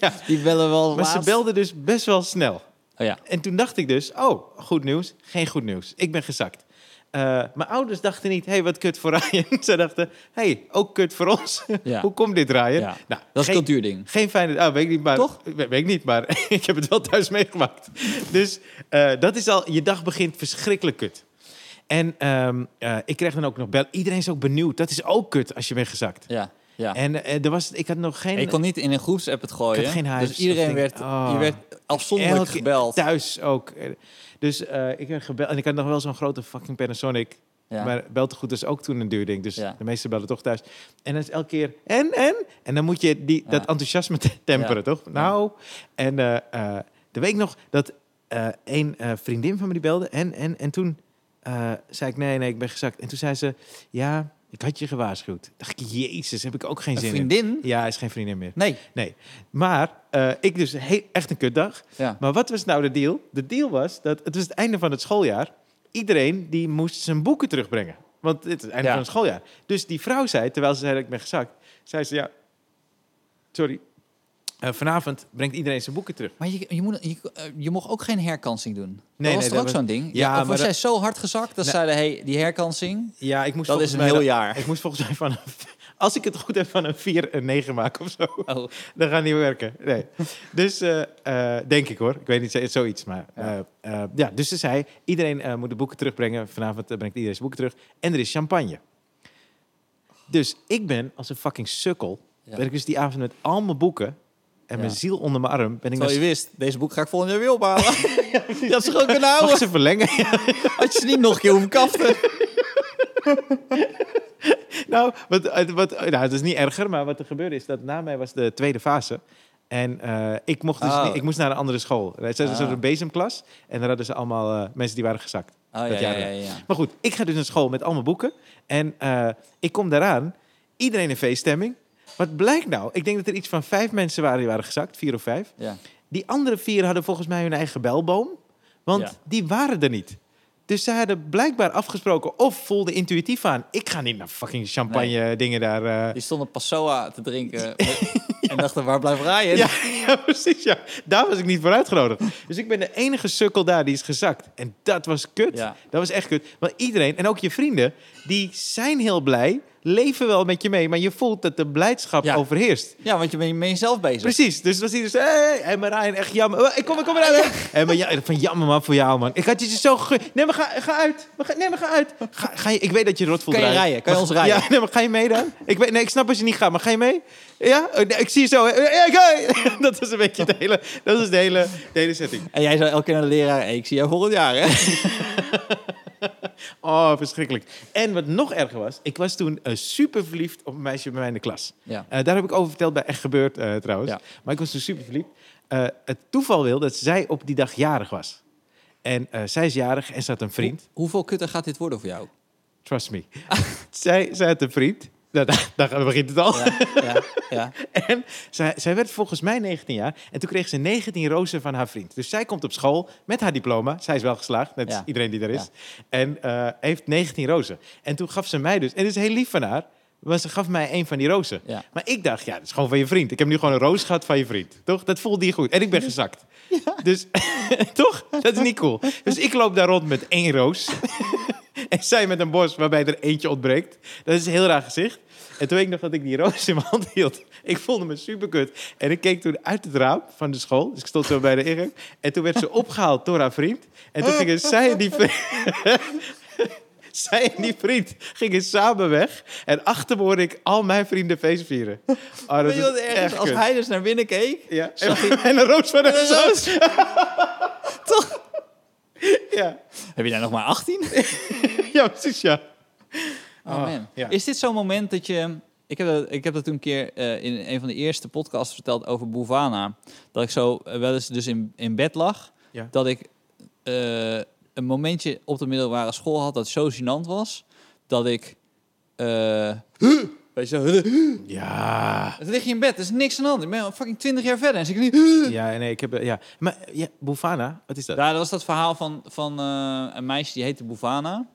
Speaker 1: ja.
Speaker 2: Die bellen wel
Speaker 1: Maar ze
Speaker 2: laat.
Speaker 1: belden dus best wel snel.
Speaker 2: Oh ja.
Speaker 1: En toen dacht ik dus, oh, goed nieuws, geen goed nieuws. Ik ben gezakt. Eh, mijn ouders dachten niet, hey, wat kut voor Ryan. Ze dachten, hey, ook kut voor ons.
Speaker 2: Ja.
Speaker 1: Hoe komt dit, Ryan?
Speaker 2: Ja.
Speaker 1: Nou,
Speaker 2: Dat is
Speaker 1: geen-
Speaker 2: cultuurding.
Speaker 1: Geen fijne... Ah, weet ik niet, maar...
Speaker 2: Toch?
Speaker 1: We- Weet ik niet, maar ik heb het wel thuis meegemaakt. Dus eh, dat is al... Je dag begint verschrikkelijk kut. En ehm, eh, ik kreeg dan ook nog bel. Iedereen is ook benieuwd. Dat is ook kut als je bent gezakt.
Speaker 2: Ja. ja.
Speaker 1: En eh, er was... Ik had nog geen...
Speaker 2: ik kon niet in een groepsapp het gooien.
Speaker 1: Ik had geen huis,
Speaker 2: dus iedereen
Speaker 1: dat
Speaker 2: werd,
Speaker 1: ding. Oh.
Speaker 2: je werd afzonderlijk
Speaker 1: Elke-
Speaker 2: gebeld.
Speaker 1: Thuis ook. Eh, Dus eh, ik werd gebeld. En ik had nog wel zo'n grote fucking Panasonic.
Speaker 2: Ja.
Speaker 1: Maar beltegoed is ook toen een duur ding. Dus
Speaker 2: Ja.
Speaker 1: de meesten belden toch thuis. En dan is elke keer en, en. En dan moet je die, dat
Speaker 2: Ja.
Speaker 1: enthousiasme te- temperen,
Speaker 2: Ja.
Speaker 1: toch? Nou, en eh eh, de week nog dat eh een eh, vriendin van me die belde. En, en, en toen eh, zei ik, nee, nee, ik ben gezakt. En toen zei ze, ja, ik had je gewaarschuwd. Dacht ik, jezus, heb ik ook geen
Speaker 2: een
Speaker 1: zin
Speaker 2: vriendin?
Speaker 1: in. Ja, is geen vriendin meer.
Speaker 2: Nee.
Speaker 1: Nee. Maar eh, ik dus he- echt een kutdag.
Speaker 2: Ja.
Speaker 1: Maar wat was nou de deal? De deal was dat het was het einde van het schooljaar. Iedereen die moest zijn boeken terugbrengen. Want het is het einde
Speaker 2: Ja.
Speaker 1: van het schooljaar. Dus die vrouw zei, terwijl ze zei dat ik ben gezakt, zei ze ja, sorry, eh, vanavond brengt iedereen zijn boeken terug.
Speaker 2: Maar je, je, moet, je, eh, je mocht ook geen herkansing doen. Nee, dat
Speaker 1: nee,
Speaker 2: was toch
Speaker 1: dat
Speaker 2: ook
Speaker 1: was-
Speaker 2: zo'n ding?
Speaker 1: Ja,
Speaker 2: Ja, of
Speaker 1: maar
Speaker 2: was
Speaker 1: dat-
Speaker 2: jij zo hard gezakt dat
Speaker 1: Nee.
Speaker 2: zeiden, hey, die herkansing,
Speaker 1: Ja, ik moest
Speaker 2: dat
Speaker 1: volgens
Speaker 2: is een
Speaker 1: mij
Speaker 2: heel
Speaker 1: dan-
Speaker 2: jaar.
Speaker 1: Ik moest volgens mij van, als ik het goed heb, van een 4 een 9 maken of zo.
Speaker 2: Oh,
Speaker 1: Dat gaat niet werken. Nee. Dus eh, eh, denk ik hoor. Ik weet niet, z- zoiets. Maar
Speaker 2: Ja.
Speaker 1: eh, eh, ja, dus ze zei: iedereen eh, moet de boeken terugbrengen. Vanavond eh, brengt iedereen zijn boeken terug. En er is champagne. Dus ik ben als een fucking sukkel.
Speaker 2: Ja.
Speaker 1: Ben ik dus die avond met al mijn boeken en mijn
Speaker 2: Ja.
Speaker 1: ziel onder mijn arm. Ben ik
Speaker 2: terwijl je
Speaker 1: naar-
Speaker 2: wist, deze boek ga ik volgend jaar weer ophalen. Je had ze gewoon kunnen houden.
Speaker 1: Mag ze verlengen?
Speaker 2: Had je ze niet nog een keer omkaften.
Speaker 1: nou, wat, eh, wat, eh, nou, het is niet erger, maar wat er gebeurde is dat na mij was de tweede fase. En eh, ik, mocht dus
Speaker 2: Oh.
Speaker 1: niet, ik moest naar een andere school. Ze hadden
Speaker 2: Ah.
Speaker 1: een bezemklas en daar hadden ze allemaal eh, mensen die waren gezakt.
Speaker 2: Oh, ja,
Speaker 1: Dat
Speaker 2: ja,
Speaker 1: jaar
Speaker 2: ja,
Speaker 1: dan.
Speaker 2: ja.
Speaker 1: Maar goed, ik ga dus naar school met al mijn boeken. En eh, ik kom daaraan. Iedereen in feeststemming. Wat blijkt nou? Ik denk dat er iets van vijf mensen waren die waren gezakt. Vier of vijf.
Speaker 2: Ja.
Speaker 1: Die andere vier hadden volgens mij hun eigen belboom. Want
Speaker 2: Ja.
Speaker 1: die waren er niet. Dus zij hadden blijkbaar afgesproken of voelden intuïtief aan. Ik ga niet naar fucking champagne dingen daar. eh.
Speaker 2: Die stonden Passoa te drinken en dachten, waar blijft Ryan?
Speaker 1: Ja, ja, precies. Ja. Daar was ik niet voor uitgenodigd. Dus ik ben de enige sukkel daar die is gezakt. En dat was kut.
Speaker 2: Ja.
Speaker 1: Dat was echt kut. Want iedereen, en ook je vrienden, die zijn heel blij, leven wel met je mee, maar je voelt dat de blijdschap
Speaker 2: Ja.
Speaker 1: overheerst.
Speaker 2: Ja, want je bent met jezelf bezig.
Speaker 1: Precies, dus was hij dus, hé, hey, hey, maar Ryan, echt jammer. Oh, Ik kom, ik kom
Speaker 2: Ah,
Speaker 1: eruit. En maar ja, van jammer man, voor jou man. Ik had je dus zo ge... Nee, maar ga, ga uit. Maar ga- nee, maar ga uit. Ga, ga je, ik weet dat je rot voelt.
Speaker 2: Kan je
Speaker 1: Ryan.
Speaker 2: rijden? Kan je
Speaker 1: Maar-
Speaker 2: ons rijden?
Speaker 1: Ja, nee, maar ga je mee dan? Ik, weet, nee, ik snap als je niet gaat, maar ga je mee? Ja? Oh, nee, ik zie je zo. hè. Ja, ik ga. Dat is een beetje de hele, dat is de hele, de hele setting.
Speaker 2: En jij zou elke keer naar de leraar, hey, ik zie jou volgend jaar, hè?
Speaker 1: Oh, verschrikkelijk. En wat nog erger was, ik was toen super verliefd op een meisje bij mij in de klas.
Speaker 2: Ja.
Speaker 1: Eh, daar heb ik over verteld bij Echt Gebeurd eh, trouwens.
Speaker 2: Ja.
Speaker 1: Maar ik was toen super verliefd. Eh, het toeval wil dat zij op die dag jarig was. En eh, zij is jarig en ze had een vriend.
Speaker 2: Hoe- hoeveel kutter gaat dit worden voor jou?
Speaker 1: Trust me. zij, zij had een vriend. Nou, daar, daar begint het al.
Speaker 2: Ja, ja, ja.
Speaker 1: En zij, zij werd volgens mij 19 jaar. En toen kreeg ze 19 rozen van haar vriend. Dus zij komt op school met haar diploma. Zij is wel geslaagd, net als
Speaker 2: Ja.
Speaker 1: iedereen die er is. En eh, heeft 19 rozen. En toen gaf ze mij dus... En dat is heel lief van haar. Maar ze gaf mij een van die rozen.
Speaker 2: Ja.
Speaker 1: Maar ik dacht, ja, dat is gewoon van je vriend. Ik heb nu gewoon een roos gehad van je vriend. Toch? Dat voelde je goed. En ik ben gezakt. Dus toch? Dat is niet cool. Dus ik loop daar rond met één roos. en zij met een bos waarbij er eentje ontbreekt. Dat is een heel raar gezicht. En toen weet ik nog dat ik die roos in mijn hand hield. Ik voelde me superkut. En ik keek toen uit het raam van de school. Dus ik stond zo bij de ingang. En toen werd ze opgehaald door haar vriend. En toen gingen zij en die vriend... zij en die vriend gingen samen weg. En achter me hoorde ik al mijn vrienden feest vieren. Oh, dat
Speaker 2: Weet je
Speaker 1: is
Speaker 2: wat erg is?
Speaker 1: echt
Speaker 2: Als
Speaker 1: kut.
Speaker 2: hij dus naar binnen keek,
Speaker 1: Ja.
Speaker 2: zag
Speaker 1: En, en een roos van
Speaker 2: een
Speaker 1: een roos.
Speaker 2: Toch?
Speaker 1: Ja.
Speaker 2: Heb je daar nog maar 18?
Speaker 1: ja, precies ja.
Speaker 2: Oh,
Speaker 1: Ah,
Speaker 2: man.
Speaker 1: ja.
Speaker 2: Is dit zo'n moment dat je... Ik heb, dat, ik heb dat toen een keer eh, in een van de eerste podcasts verteld over Bouvana. Dat ik zo eh, wel eens dus in, in bed lag.
Speaker 1: Ja.
Speaker 2: Dat ik eh, een momentje op de middelbare school had dat zo gênant was. Dat ik... eh, weet je zo...
Speaker 1: Ja.
Speaker 2: Dan lig je in bed, er is niks aan de hand. Ik ben al fucking 20 jaar verder en zit ik niet...
Speaker 1: Ja, nee, ik heb... eh, Ja. Maar ja, Bufana, wat is dat?
Speaker 2: Ja, dat was dat verhaal van, van eh, een meisje die heette Bouvana.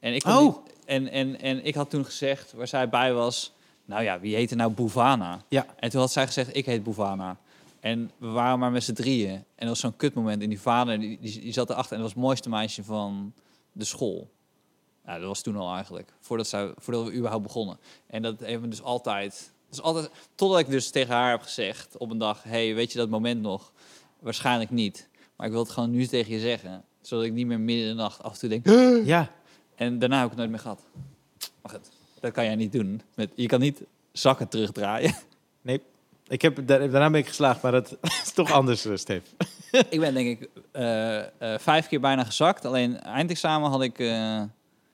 Speaker 2: En ik kon
Speaker 1: Oh.
Speaker 2: niet- En, en, en ik had toen gezegd, waar zij bij was... Nou ja, wie heette nou Bouvana?
Speaker 1: Ja.
Speaker 2: En toen had zij gezegd, ik heet Bouvana. En we waren maar met z'n drieën. En dat was zo'n kutmoment. En die vader, die, die, die zat erachter. En dat was het mooiste meisje van de school. Ja, dat was toen al eigenlijk. Voordat, zij, voordat we überhaupt begonnen. En dat heeft me dus altijd... Dus altijd totdat ik dus tegen haar heb gezegd op een dag... hey, weet je dat moment nog? Waarschijnlijk niet. Maar ik wil het gewoon nu tegen je zeggen. Zodat ik niet meer midden in de nacht af en toe denk...
Speaker 1: Ja,
Speaker 2: En daarna heb ik het nooit meer gehad. Maar goed, dat kan jij niet doen. Met, je kan niet zakken terugdraaien.
Speaker 1: ik heb, daar- daarna ben ik geslaagd, maar dat is toch anders, eh, Stef.
Speaker 2: ik ben denk ik eh, eh, vijf keer bijna gezakt. Alleen eindexamen had ik... eh,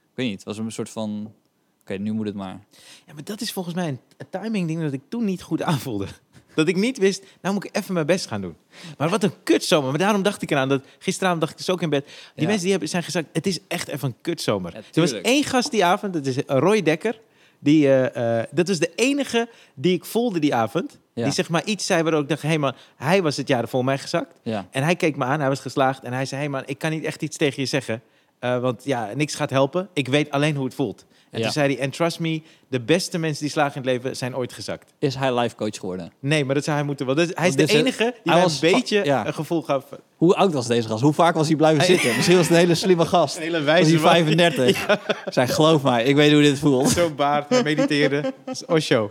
Speaker 2: ik weet niet, het was een soort van... Oké, nu moet het maar.
Speaker 1: Ja, maar dat is volgens mij een een timing ding dat ik toen niet goed aanvoelde. Dat ik niet wist, nou moet ik even mijn best gaan doen. Maar wat een kutzomer. Maar daarom dacht ik eraan. Dat, gisteravond dacht ik dus ook in bed. Die
Speaker 2: Ja.
Speaker 1: mensen die hebben, zijn gezegd, het is echt even een kutzomer.
Speaker 2: Ja,
Speaker 1: er was
Speaker 2: tuurlijk.
Speaker 1: één gast die avond, dat is eh, Roy Dekker. Die, eh, eh, dat was de enige die ik voelde die avond.
Speaker 2: Ja.
Speaker 1: Die zeg maar iets zei waardoor ik dacht, hé man, hij was het jaar ervoor mij gezakt.
Speaker 2: Ja,
Speaker 1: En hij keek me aan, hij was geslaagd. En hij zei, hé man, ik kan niet echt iets tegen je zeggen. eh, want ja, niks gaat helpen. Ik weet alleen hoe het voelt. En
Speaker 2: Ja.
Speaker 1: toen zei hij, en trust me, de beste mensen die slagen in het leven zijn ooit gezakt.
Speaker 2: is hij life coach geworden?
Speaker 1: Nee, maar dat zou hij moeten wel. Dat is- hij is
Speaker 2: Want
Speaker 1: de
Speaker 2: dit is-
Speaker 1: enige die
Speaker 2: hij
Speaker 1: mij
Speaker 2: was
Speaker 1: een beetje
Speaker 2: fa- ja.
Speaker 1: een gevoel gaf. van-
Speaker 2: Hoe oud was deze gast? Hoe vaak was hij blijven
Speaker 1: Hij-
Speaker 2: zitten? Misschien was het een hele slimme gast.
Speaker 1: Een hele
Speaker 2: Was
Speaker 1: wijze
Speaker 2: hij
Speaker 1: man.
Speaker 2: 35? Ik zei, geloof mij, ik weet hoe dit voelt.
Speaker 1: Zo'n baard, hij mediteerde. Dat is Osho.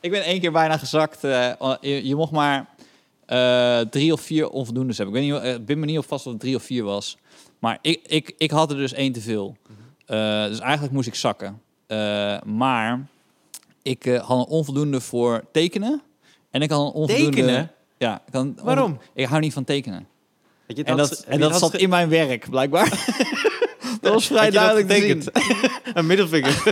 Speaker 2: Ik ben één keer bijna gezakt. eh, je, je mocht maar eh, drie of vier onvoldoendes hebben. Ik weet niet, eh, ik ben me niet op vast of het drie of vier was. Maar ik, ik, ik had er dus één te veel.
Speaker 1: Mhm.
Speaker 2: Eh, dus eigenlijk moest ik zakken. Eh, maar ik eh, had een onvoldoende voor tekenen. En ik had een onvoldoende...
Speaker 1: Tekenen?
Speaker 2: Ja. Ik had een onvo-
Speaker 1: Waarom?
Speaker 2: Ik hou niet van tekenen.
Speaker 1: Had je het
Speaker 2: En
Speaker 1: had-
Speaker 2: dat,
Speaker 1: heb je
Speaker 2: en dat
Speaker 1: het
Speaker 2: zat
Speaker 1: had
Speaker 2: in mijn werk, blijkbaar. dat was vrij
Speaker 1: Had je dat
Speaker 2: duidelijk te zien.
Speaker 1: getekend? Een middelvinger.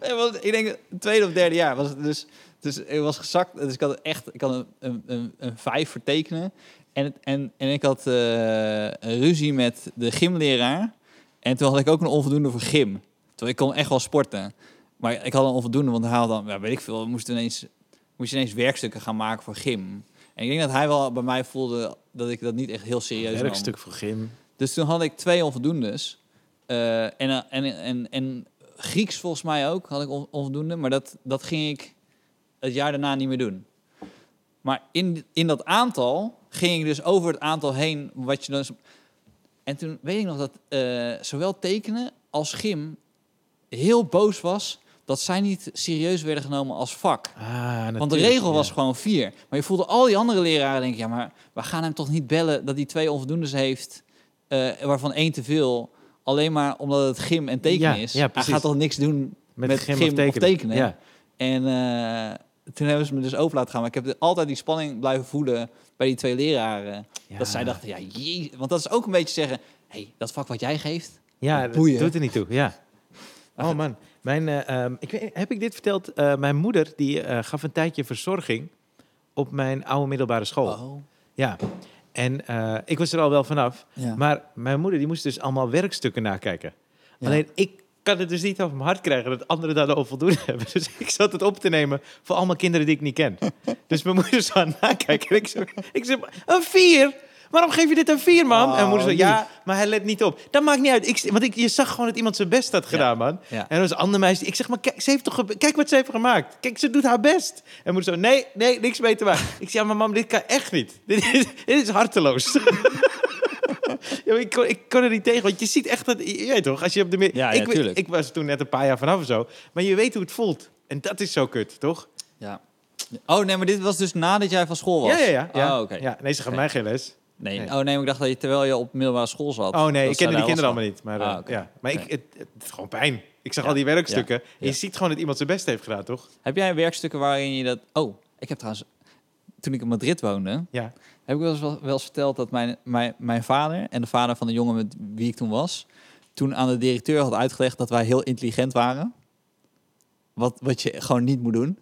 Speaker 2: Nee, want ik denk het tweede of derde jaar was het dus. Dus ik was gezakt. Dus ik had echt ik had een, een, een, een vijf vertekenen. En, het- en, en ik had eh, een ruzie met de gymleraar. En toen had ik ook een onvoldoende voor gym. Toen ik kon echt wel sporten. Maar ik had een onvoldoende, want hij had dan, ja, weet ik veel, moest ineens, moest ineens werkstukken gaan maken voor gym. En ik denk dat hij wel bij mij voelde dat ik dat niet echt heel serieus nam.
Speaker 1: Werkstuk voor gym.
Speaker 2: Dus toen had ik twee onvoldoendes. Eh, en, eh, en, en, en Grieks volgens mij ook had ik on- onvoldoende. Maar dat, dat ging ik het jaar daarna niet meer doen. Maar in, in dat aantal ging ik dus over het aantal heen wat je dan... En toen weet ik nog dat eh, zowel tekenen als gym heel boos was... dat zij niet serieus werden genomen als vak.
Speaker 1: Ah, natuurlijk.
Speaker 2: Want de regel was
Speaker 1: Ja.
Speaker 2: gewoon vier. Maar je voelde al die andere leraren denken... ja, maar we gaan hem toch niet bellen dat hij twee onvoldoendes heeft... eh, waarvan één te veel... alleen maar omdat het gym en tekenen
Speaker 1: Ja,
Speaker 2: is.
Speaker 1: ja,
Speaker 2: hij
Speaker 1: precies.
Speaker 2: gaat toch niks doen
Speaker 1: met,
Speaker 2: met,
Speaker 1: gym,
Speaker 2: gym
Speaker 1: of tekenen. Ja.
Speaker 2: En eh, toen hebben ze me dus over laten gaan. Maar ik heb de- altijd die spanning blijven voelen bij die twee leraren.
Speaker 1: Ja.
Speaker 2: Dat zij dachten, ja, jee. Want dat is ook een beetje zeggen... hé, hey, dat vak wat jij geeft...
Speaker 1: Ja, dat
Speaker 2: boeien.
Speaker 1: doet er niet toe. Ja.
Speaker 2: Maar
Speaker 1: Oh
Speaker 2: goed.
Speaker 1: man, mijn, eh, ehm, ik weet, heb ik dit verteld? Eh, mijn moeder die eh, gaf een tijdje verzorging op mijn oude middelbare school.
Speaker 2: oh.
Speaker 1: Ja, en eh, ik was er al wel vanaf.
Speaker 2: Ja.
Speaker 1: Maar mijn moeder die moest dus allemaal werkstukken nakijken.
Speaker 2: Ja.
Speaker 1: Alleen ik kan het dus niet over mijn hart krijgen dat anderen daar al voldoende hebben. Dus ik zat het op te nemen voor allemaal kinderen die ik niet ken. dus mijn moeder zou aan het nakijken. En ik zei, ik zei, een vier? Waarom geef je dit een vier, man?
Speaker 2: Oh,
Speaker 1: en mijn moeder zei, ja,
Speaker 2: lief.
Speaker 1: maar hij let niet op. Dat maakt niet uit. Ik, want ik, je zag gewoon dat iemand zijn best had gedaan, man.
Speaker 2: Ja.
Speaker 1: En er was een ander meisje. die- Ik zeg, maar kijk, ze heeft toch, ge- kijk wat ze heeft gemaakt. Kijk, ze doet haar best. En moeder zo, nee, nee, niks mee te maken. Ik zeg, ja, maar mam, dit kan echt niet. Dit is, dit is harteloos. Ja, maar ik, kon, ik kon er niet tegen, want je ziet echt dat... Je weet toch, als je op de... mid-
Speaker 2: Ja, ja,
Speaker 1: ik, weet-
Speaker 2: tuurlijk.
Speaker 1: ik was toen net een paar jaar vanaf of zo. Maar je weet hoe het voelt. En dat is zo kut, toch?
Speaker 2: Ja. Oh, nee, maar dit was dus nadat jij van school was?
Speaker 1: Ja, ja, ja. ja.
Speaker 2: Oh, oké.
Speaker 1: ja nee, ze gaf
Speaker 2: Oké.
Speaker 1: mij geen les.
Speaker 2: Nee,
Speaker 1: Nee.
Speaker 2: oh nee, maar ik dacht dat je terwijl je op middelbare school zat.
Speaker 1: Oh nee,
Speaker 2: dat
Speaker 1: ik
Speaker 2: zij
Speaker 1: kende die
Speaker 2: daar
Speaker 1: kinderen
Speaker 2: was
Speaker 1: allemaal niet. Maar, eh,
Speaker 2: Ah, oké.
Speaker 1: ja. maar ik,
Speaker 2: Nee.
Speaker 1: het, het, is gewoon pijn. Ik zag
Speaker 2: Ja.
Speaker 1: al die werkstukken.
Speaker 2: Ja.
Speaker 1: En je
Speaker 2: Ja.
Speaker 1: ziet gewoon dat iemand zijn best heeft gedaan, toch?
Speaker 2: van. Heb jij werkstukken waarin je dat... Oh, ik heb trouwens... Toen ik in Madrid woonde,
Speaker 1: Ja.
Speaker 2: heb ik wel eens, wel eens verteld dat mijn, mijn, mijn vader en de vader van de jongen met wie ik toen was, toen aan de directeur had uitgelegd dat wij heel intelligent waren. Wat, wat je gewoon niet moet doen.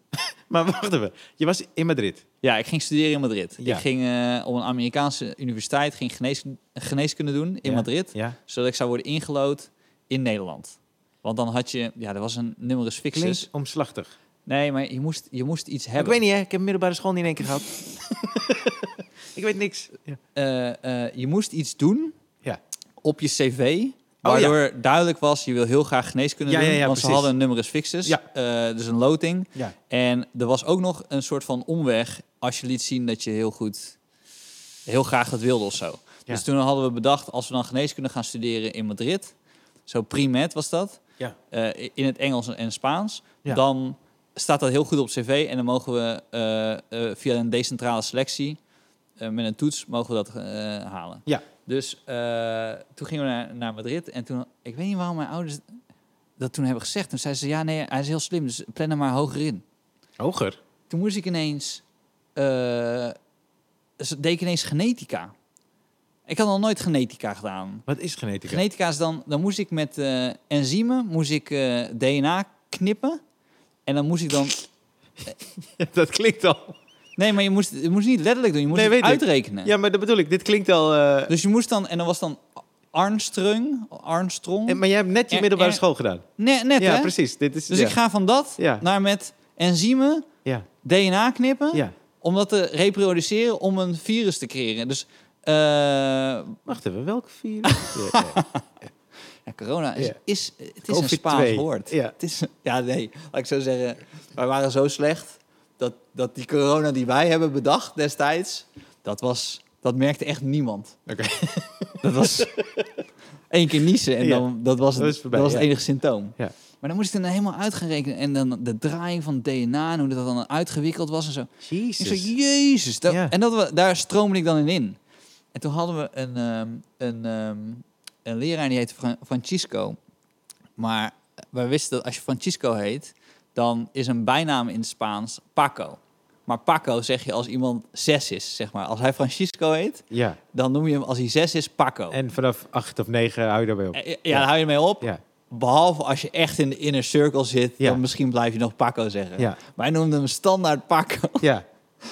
Speaker 1: Maar wacht even. Je was in Madrid.
Speaker 2: Ja, ik ging studeren in Madrid.
Speaker 1: Ja.
Speaker 2: Ik ging eh, op een Amerikaanse universiteit ging genees, geneeskunde doen in
Speaker 1: Ja.
Speaker 2: Madrid,
Speaker 1: Ja.
Speaker 2: zodat ik zou worden ingelood in Nederland. Want dan had je, ja, er was een numerus fixus.
Speaker 1: Klinkt omslachtig.
Speaker 2: Nee, maar je moest, je moest iets
Speaker 1: Ik
Speaker 2: hebben.
Speaker 1: weet niet, hè. Ik heb middelbare school niet in één keer gehad. ik weet niks. Ja.
Speaker 2: Eh, eh, je moest iets doen
Speaker 1: Ja. Oh,
Speaker 2: op je cv
Speaker 1: ja.
Speaker 2: Waardoor duidelijk was, je wil heel graag geneeskunde
Speaker 1: Ja,
Speaker 2: doen.
Speaker 1: ja, ja,
Speaker 2: want ze
Speaker 1: precies.
Speaker 2: hadden een numerus fixus,
Speaker 1: Ja.
Speaker 2: eh, dus een loting.
Speaker 1: Ja.
Speaker 2: En er was ook nog een soort van omweg als je liet zien dat je heel goed, heel graag dat wilde of zo.
Speaker 1: Ja.
Speaker 2: Dus toen hadden we bedacht, als we dan geneeskunde gaan studeren in Madrid, zo pre-med was dat,
Speaker 1: Ja.
Speaker 2: eh, in het Engels en Spaans,
Speaker 1: Ja.
Speaker 2: dan staat dat heel goed op cv en dan mogen we eh, eh, via een decentrale selectie eh, met een toets mogen we dat eh, halen.
Speaker 1: Ja.
Speaker 2: Dus eh, toen gingen we naar, naar Madrid en toen, ik weet niet waarom mijn ouders dat toen hebben gezegd. Toen zeiden ze, ja nee, hij is heel slim, dus plan hem maar hoger in
Speaker 1: Hoger.
Speaker 2: toen moest ik ineens. eh, ze deed ik ineens genetica. Ik had nog nooit genetica gedaan.
Speaker 1: Wat is genetica?
Speaker 2: Genetica is dan. Dan moest ik met eh, enzymen. Moest ik eh, DNA knippen. En dan moest ik dan.
Speaker 1: dat klinkt al.
Speaker 2: Nee, maar je moest, je moest niet letterlijk doen. Je moest
Speaker 1: Nee,
Speaker 2: het
Speaker 1: weet ik.
Speaker 2: uitrekenen.
Speaker 1: Ja, maar dat bedoel ik. Dit klinkt al. eh,
Speaker 2: Dus je moest dan. En dan was dan Armstrong. Armstrong.
Speaker 1: en- maar jij hebt net je
Speaker 2: Er-
Speaker 1: middelbare
Speaker 2: er-
Speaker 1: school gedaan.
Speaker 2: Ne- net,
Speaker 1: ja,
Speaker 2: hè?
Speaker 1: precies. Dit is,
Speaker 2: Dus
Speaker 1: ja.
Speaker 2: ik ga van dat
Speaker 1: Ja.
Speaker 2: naar met enzymen,
Speaker 1: Ja,
Speaker 2: DNA knippen.
Speaker 1: ja.
Speaker 2: Om dat te reproduceren om een virus te creëren. Dus eh,
Speaker 1: Wacht even, welk virus? Ja, ja.
Speaker 2: Ja, corona is,
Speaker 1: Ja.
Speaker 2: is, het is een
Speaker 1: COVID-2.
Speaker 2: Spaans woord.
Speaker 1: Ja.
Speaker 2: Het is, ja, nee, laat ik zo zeggen. Wij waren zo slecht dat, dat die corona die wij hebben bedacht destijds, dat, was, dat merkte echt niemand.
Speaker 1: Oké.
Speaker 2: Dat was één keer niezen en
Speaker 1: Ja.
Speaker 2: dan, dat was, het,
Speaker 1: Dat is voorbij,
Speaker 2: dat
Speaker 1: ja.
Speaker 2: was het enige symptoom.
Speaker 1: Ja.
Speaker 2: Maar dan moest ik dan helemaal uit gaan rekenen en dan de draaiing van DNA en hoe dat dan uitgewikkeld was en zo. Ik
Speaker 1: Jezus.
Speaker 2: zei, jezus. Da-
Speaker 1: Ja.
Speaker 2: En dat we, daar stroomde ik dan in in. En toen hadden we een, ehm, een, ehm, een leraar die heette Fran- Francisco. Maar wij wisten dat als je Francisco heet, dan is een bijnaam in het Spaans Paco. Maar Paco zeg je als iemand zes is, zeg maar. Als hij Francisco heet,
Speaker 1: Ja,
Speaker 2: dan noem je hem als hij zes is Paco.
Speaker 1: en vanaf acht of negen hou je daarbij op.
Speaker 2: Eh, ja, daar hou je mee op.
Speaker 1: Ja,
Speaker 2: Behalve als je echt in de inner circle zit,
Speaker 1: Ja.
Speaker 2: dan misschien blijf je nog Paco zeggen.
Speaker 1: ja,
Speaker 2: Wij noemden hem standaard Paco.
Speaker 1: ja.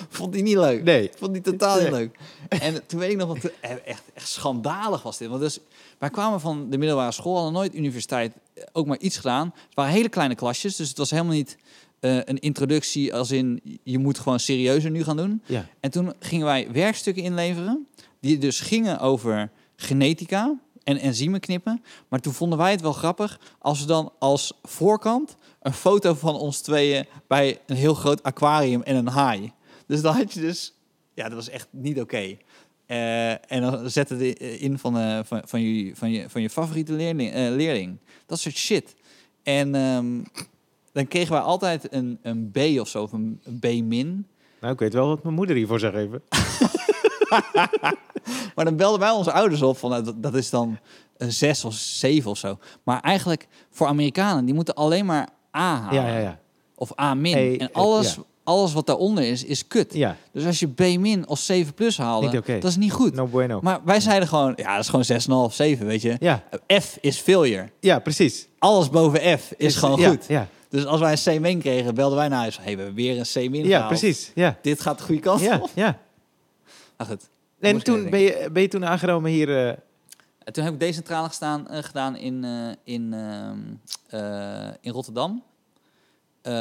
Speaker 2: Vond hij niet leuk.
Speaker 1: Nee.
Speaker 2: Ik vond die totaal niet
Speaker 1: Nee.
Speaker 2: leuk. En toen weet ik nog, want toen- eh, echt, echt schandalig was dit. Want dus, wij kwamen van de middelbare school, hadden nooit universiteit eh, ook maar iets gedaan. Het waren hele kleine klasjes, dus het was helemaal niet eh, een introductie als in je moet gewoon serieuzer nu gaan doen.
Speaker 1: ja.
Speaker 2: En toen gingen wij werkstukken inleveren, die dus gingen over genetica en enzymen knippen. Maar toen vonden wij het wel grappig als we dan als voorkant een foto van ons tweeën bij een heel groot aquarium en een haai. Dus dan had je dus, ja, dat was echt niet oké. Eh, en dan zette de eh, in van, eh, van, van, je, van, je, van je favoriete leerling, eh, leerling. Dat soort shit. En ehm, dan kregen wij altijd een, een B of zo, of een, een B-min.
Speaker 1: Nou, ik weet wel wat mijn moeder hiervoor zou geven.
Speaker 2: Maar dan belden wij onze ouders op van nou, dat, dat is dan een zes of zeven of zo. Maar eigenlijk voor Amerikanen, die moeten alleen maar A halen.
Speaker 1: Ja, ja, ja.
Speaker 2: Of A min.
Speaker 1: E,
Speaker 2: en
Speaker 1: eh,
Speaker 2: alles,
Speaker 1: ja.
Speaker 2: alles wat daaronder is, is kut.
Speaker 1: Ja,
Speaker 2: Dus als je B min of 7 plus haalde,
Speaker 1: Niet oké.
Speaker 2: dat is niet goed.
Speaker 1: no bueno.
Speaker 2: Maar wij zeiden gewoon, ja, dat is gewoon 6,5, 7, weet je.
Speaker 1: Ja,
Speaker 2: F is failure.
Speaker 1: ja, precies.
Speaker 2: Alles boven F is gewoon
Speaker 1: ja,
Speaker 2: goed.
Speaker 1: Ja,
Speaker 2: Dus als wij een C min kregen, belden wij naar huis. Hé, hey, we hebben weer een C min
Speaker 1: ja precies. Ja,
Speaker 2: Dit gaat de goede kant
Speaker 1: ja,
Speaker 2: op.
Speaker 1: ja.
Speaker 2: Maar goed.
Speaker 1: En
Speaker 2: Moest ik
Speaker 1: toen
Speaker 2: even
Speaker 1: ben je, ben je toen aangenomen hier... eh,
Speaker 2: En toen heb ik decentraal gestaan, eh, gedaan in, eh, in, ehm, eh, in Rotterdam. Eh,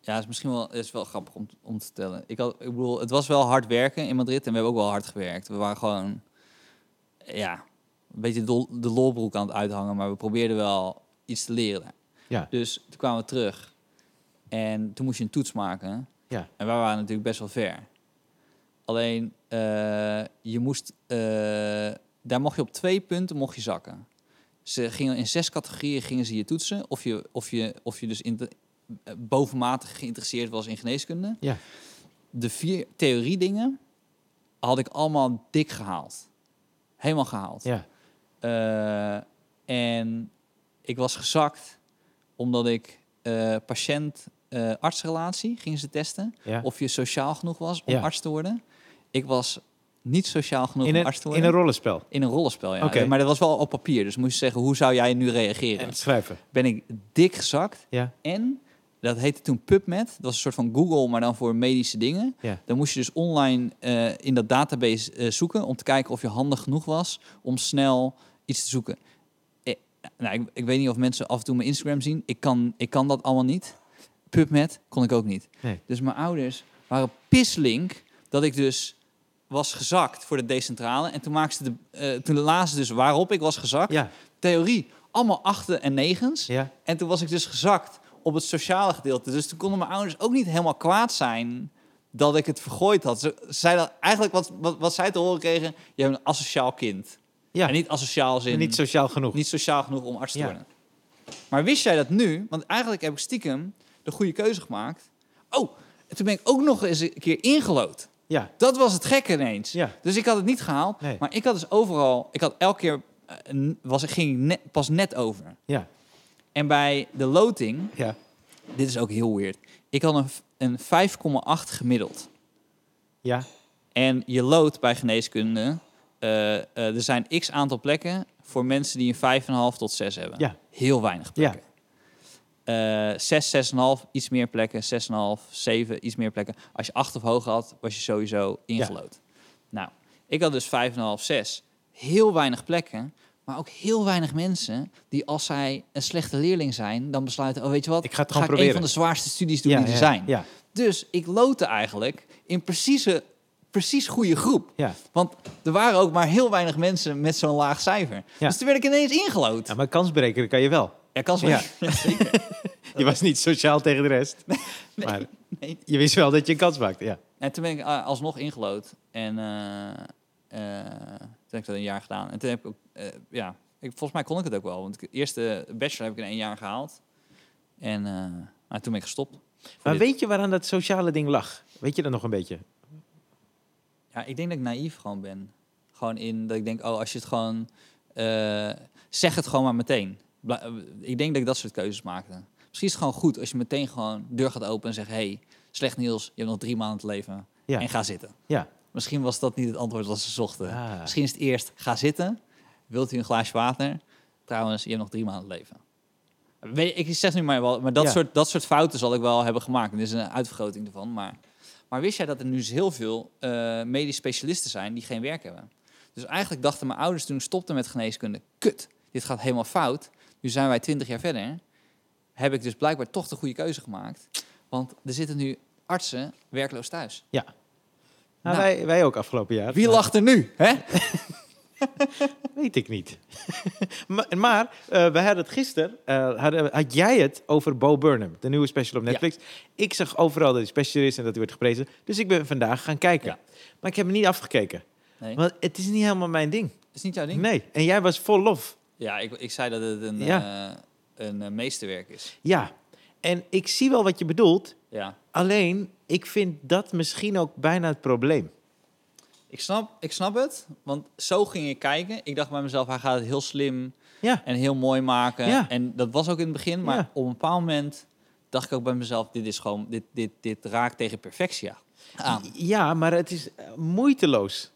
Speaker 2: ja, is misschien wel, is wel grappig om, om te vertellen. Ik, had, ik bedoel, het was wel hard werken in Madrid en we hebben ook wel hard gewerkt. We waren gewoon, ja, een beetje de, de lolbroek aan het uithangen, maar we probeerden wel iets te leren. daar.
Speaker 1: Ja.
Speaker 2: Dus toen kwamen we terug en toen moest je een toets maken.
Speaker 1: Ja.
Speaker 2: En wij waren natuurlijk best wel ver. Alleen, eh, je moest, eh, daar mocht je op twee punten mocht je zakken. Ze gingen in zes categorieën gingen ze je toetsen. Of je, of je, of je dus in de- eh, bovenmatig geïnteresseerd was in geneeskunde.
Speaker 1: Ja.
Speaker 2: De vier theoriedingen had ik allemaal dik gehaald. Helemaal gehaald.
Speaker 1: ja,
Speaker 2: Eh, en ik was gezakt omdat ik eh, patiënt-artsrelatie gingen ze testen.
Speaker 1: ja.
Speaker 2: Of je sociaal genoeg was om
Speaker 1: Ja.
Speaker 2: arts te worden. Ik was niet sociaal genoeg
Speaker 1: In
Speaker 2: om
Speaker 1: een,
Speaker 2: arts te
Speaker 1: in
Speaker 2: worden.
Speaker 1: een rollenspel.
Speaker 2: In een rollenspel, ja.
Speaker 1: Oké.
Speaker 2: Maar dat was wel op papier. Dus moest je zeggen, hoe zou jij nu reageren?
Speaker 1: En het schrijven.
Speaker 2: Ben ik dik gezakt.
Speaker 1: Ja,
Speaker 2: En, dat heette toen PubMed. Dat was een soort van Google, maar dan voor medische dingen.
Speaker 1: ja.
Speaker 2: Dan moest je dus online eh, in dat database eh, zoeken... om te kijken of je handig genoeg was om snel iets te zoeken. Eh, nou, ik, ik weet niet of mensen af en toe mijn Instagram zien. Ik kan, ik kan dat allemaal niet. PubMed kon ik ook niet.
Speaker 1: Nee.
Speaker 2: Dus mijn ouders waren pisslink dat ik dus was gezakt voor de decentrale. En toen, maakten ze de, eh, toen lazen ze dus waarop ik was gezakt.
Speaker 1: Ja,
Speaker 2: Theorie, allemaal achten en negens.
Speaker 1: ja.
Speaker 2: En toen was ik dus gezakt op het sociale gedeelte. Dus toen konden mijn ouders ook niet helemaal kwaad zijn dat ik het vergooid had. Ze zeiden eigenlijk wat, wat, wat zij te horen kregen: je hebt een asociaal kind.
Speaker 1: Ja.
Speaker 2: En niet asociaal als in
Speaker 1: Niet sociaal genoeg.
Speaker 2: niet sociaal genoeg om arts te
Speaker 1: Ja.
Speaker 2: worden. Maar wist jij dat nu? Want eigenlijk heb ik stiekem de goede keuze gemaakt. Oh, en toen ben ik ook nog eens een keer ingelood.
Speaker 1: Ja,
Speaker 2: Dat was het gekke ineens.
Speaker 1: Ja.
Speaker 2: Dus ik had het niet gehaald.
Speaker 1: Nee.
Speaker 2: Maar ik had dus overal, ik had elke keer, eh, een- was, ging ik net- pas net over.
Speaker 1: ja,
Speaker 2: En bij de loting
Speaker 1: ja.
Speaker 2: dit is ook heel weird. Ik had een, v- een 5,8 gemiddeld.
Speaker 1: Ja,
Speaker 2: En je lood bij geneeskunde. eh, eh, er zijn x aantal plekken voor mensen die een 5,5 tot 6 hebben.
Speaker 1: Ja.
Speaker 2: Heel weinig
Speaker 1: Ja.
Speaker 2: plekken. Eh 6, 6,5, iets meer plekken. 6,5, 7, iets meer plekken. Als je 8 of hoger had, was je sowieso ingelood. Nou, ik had dus 5,5, 6. Heel weinig plekken. Maar ook heel weinig mensen die als zij een slechte leerling zijn... dan besluiten, oh weet je wat,
Speaker 1: Ik ga het
Speaker 2: ga
Speaker 1: gewoon
Speaker 2: ik een
Speaker 1: proberen.
Speaker 2: van de zwaarste studies doen
Speaker 1: ja,
Speaker 2: die er
Speaker 1: ja,
Speaker 2: zijn.
Speaker 1: Ja,
Speaker 2: Dus ik lootte eigenlijk in precieze, precies goede groep.
Speaker 1: ja.
Speaker 2: Want er waren ook maar heel weinig mensen met zo'n laag cijfer.
Speaker 1: Ja.
Speaker 2: Dus toen werd ik ineens ingelood.
Speaker 1: Ja, maar kansberekener kan je wel.
Speaker 2: Ja, kan zo.
Speaker 1: Ja. Je was niet sociaal tegen de rest. maar
Speaker 2: nee.
Speaker 1: je wist wel dat je een kans maakte. Ja,
Speaker 2: En toen ben ik eh, alsnog ingelood. En eh, eh, toen heb ik dat een jaar gedaan. En toen heb ik ook, eh, ja, ik, volgens mij kon ik het ook wel. Want de eerste bachelor heb ik in één jaar gehaald. En eh, maar toen ben ik gestopt.
Speaker 1: maar
Speaker 2: dit-
Speaker 1: weet je waaraan dat sociale ding lag? Weet je dat nog een beetje?
Speaker 2: Ja, ik denk dat ik naïef gewoon ben. Gewoon in dat ik denk, oh, als je het gewoon... eh, zeg het gewoon maar meteen. Bla- eh, ik denk dat ik dat soort keuzes maakte. Misschien is het gewoon goed als je meteen gewoon de deur gaat open en zegt... hey, slecht nieuws, je hebt nog drie maanden te leven.
Speaker 1: Ja.
Speaker 2: En ga zitten.
Speaker 1: Ja.
Speaker 2: Misschien was dat niet het antwoord wat ze zochten.
Speaker 1: Ah.
Speaker 2: Misschien is het eerst, ga zitten. Wilt u een glaasje water? Trouwens, je hebt nog drie maanden te leven. Weet, ik zeg nu maar wel, maar dat,
Speaker 1: Ja.
Speaker 2: soort, dat soort fouten zal ik wel hebben gemaakt. En dit is een uitvergroting ervan. Maar, maar wist jij dat er nu dus heel veel eh medisch specialisten zijn die geen werk hebben? Dus eigenlijk dachten mijn ouders toen ik stopte met geneeskunde... kut, dit gaat helemaal fout. Nu zijn wij twintig jaar verder. Heb ik dus blijkbaar toch de goede keuze gemaakt. Want er zitten nu artsen werkloos thuis.
Speaker 1: Ja. Nou,
Speaker 2: Nou.
Speaker 1: Wij, wij ook afgelopen jaar.
Speaker 2: Wie
Speaker 1: Maar-
Speaker 2: lacht er nu? Hè?
Speaker 1: Weet ik niet. maar maar eh, we hadden het gisteren, eh, hadden- had jij het over Bo Burnham, de nieuwe special op Netflix. Ik zag overal dat hij special is en dat hij wordt geprezen. Dus ik ben vandaag gaan kijken.
Speaker 2: Ja.
Speaker 1: Maar ik heb me niet afgekeken.
Speaker 2: Nee.
Speaker 1: Want het is niet helemaal mijn ding.
Speaker 2: Is niet jouw ding?
Speaker 1: Nee. En jij was vol lof.
Speaker 2: Ja, ik, ik zei dat het een,
Speaker 1: Ja.
Speaker 2: eh, een eh, meesterwerk is.
Speaker 1: Ja. En ik zie wel wat je bedoelt.
Speaker 2: Ja.
Speaker 1: Alleen, ik vind dat misschien ook bijna het probleem.
Speaker 2: Ik snap, ik snap het, want zo ging ik kijken. Ik dacht bij mezelf, hij gaat het heel slim
Speaker 1: Ja.
Speaker 2: en heel mooi maken.
Speaker 1: Ja.
Speaker 2: En dat was ook in het begin, maar
Speaker 1: Ja.
Speaker 2: op een bepaald moment dacht ik ook bij mezelf, dit is gewoon, dit, dit, dit raakt tegen perfectie aan.
Speaker 1: Ja, maar het is eh, moeiteloos.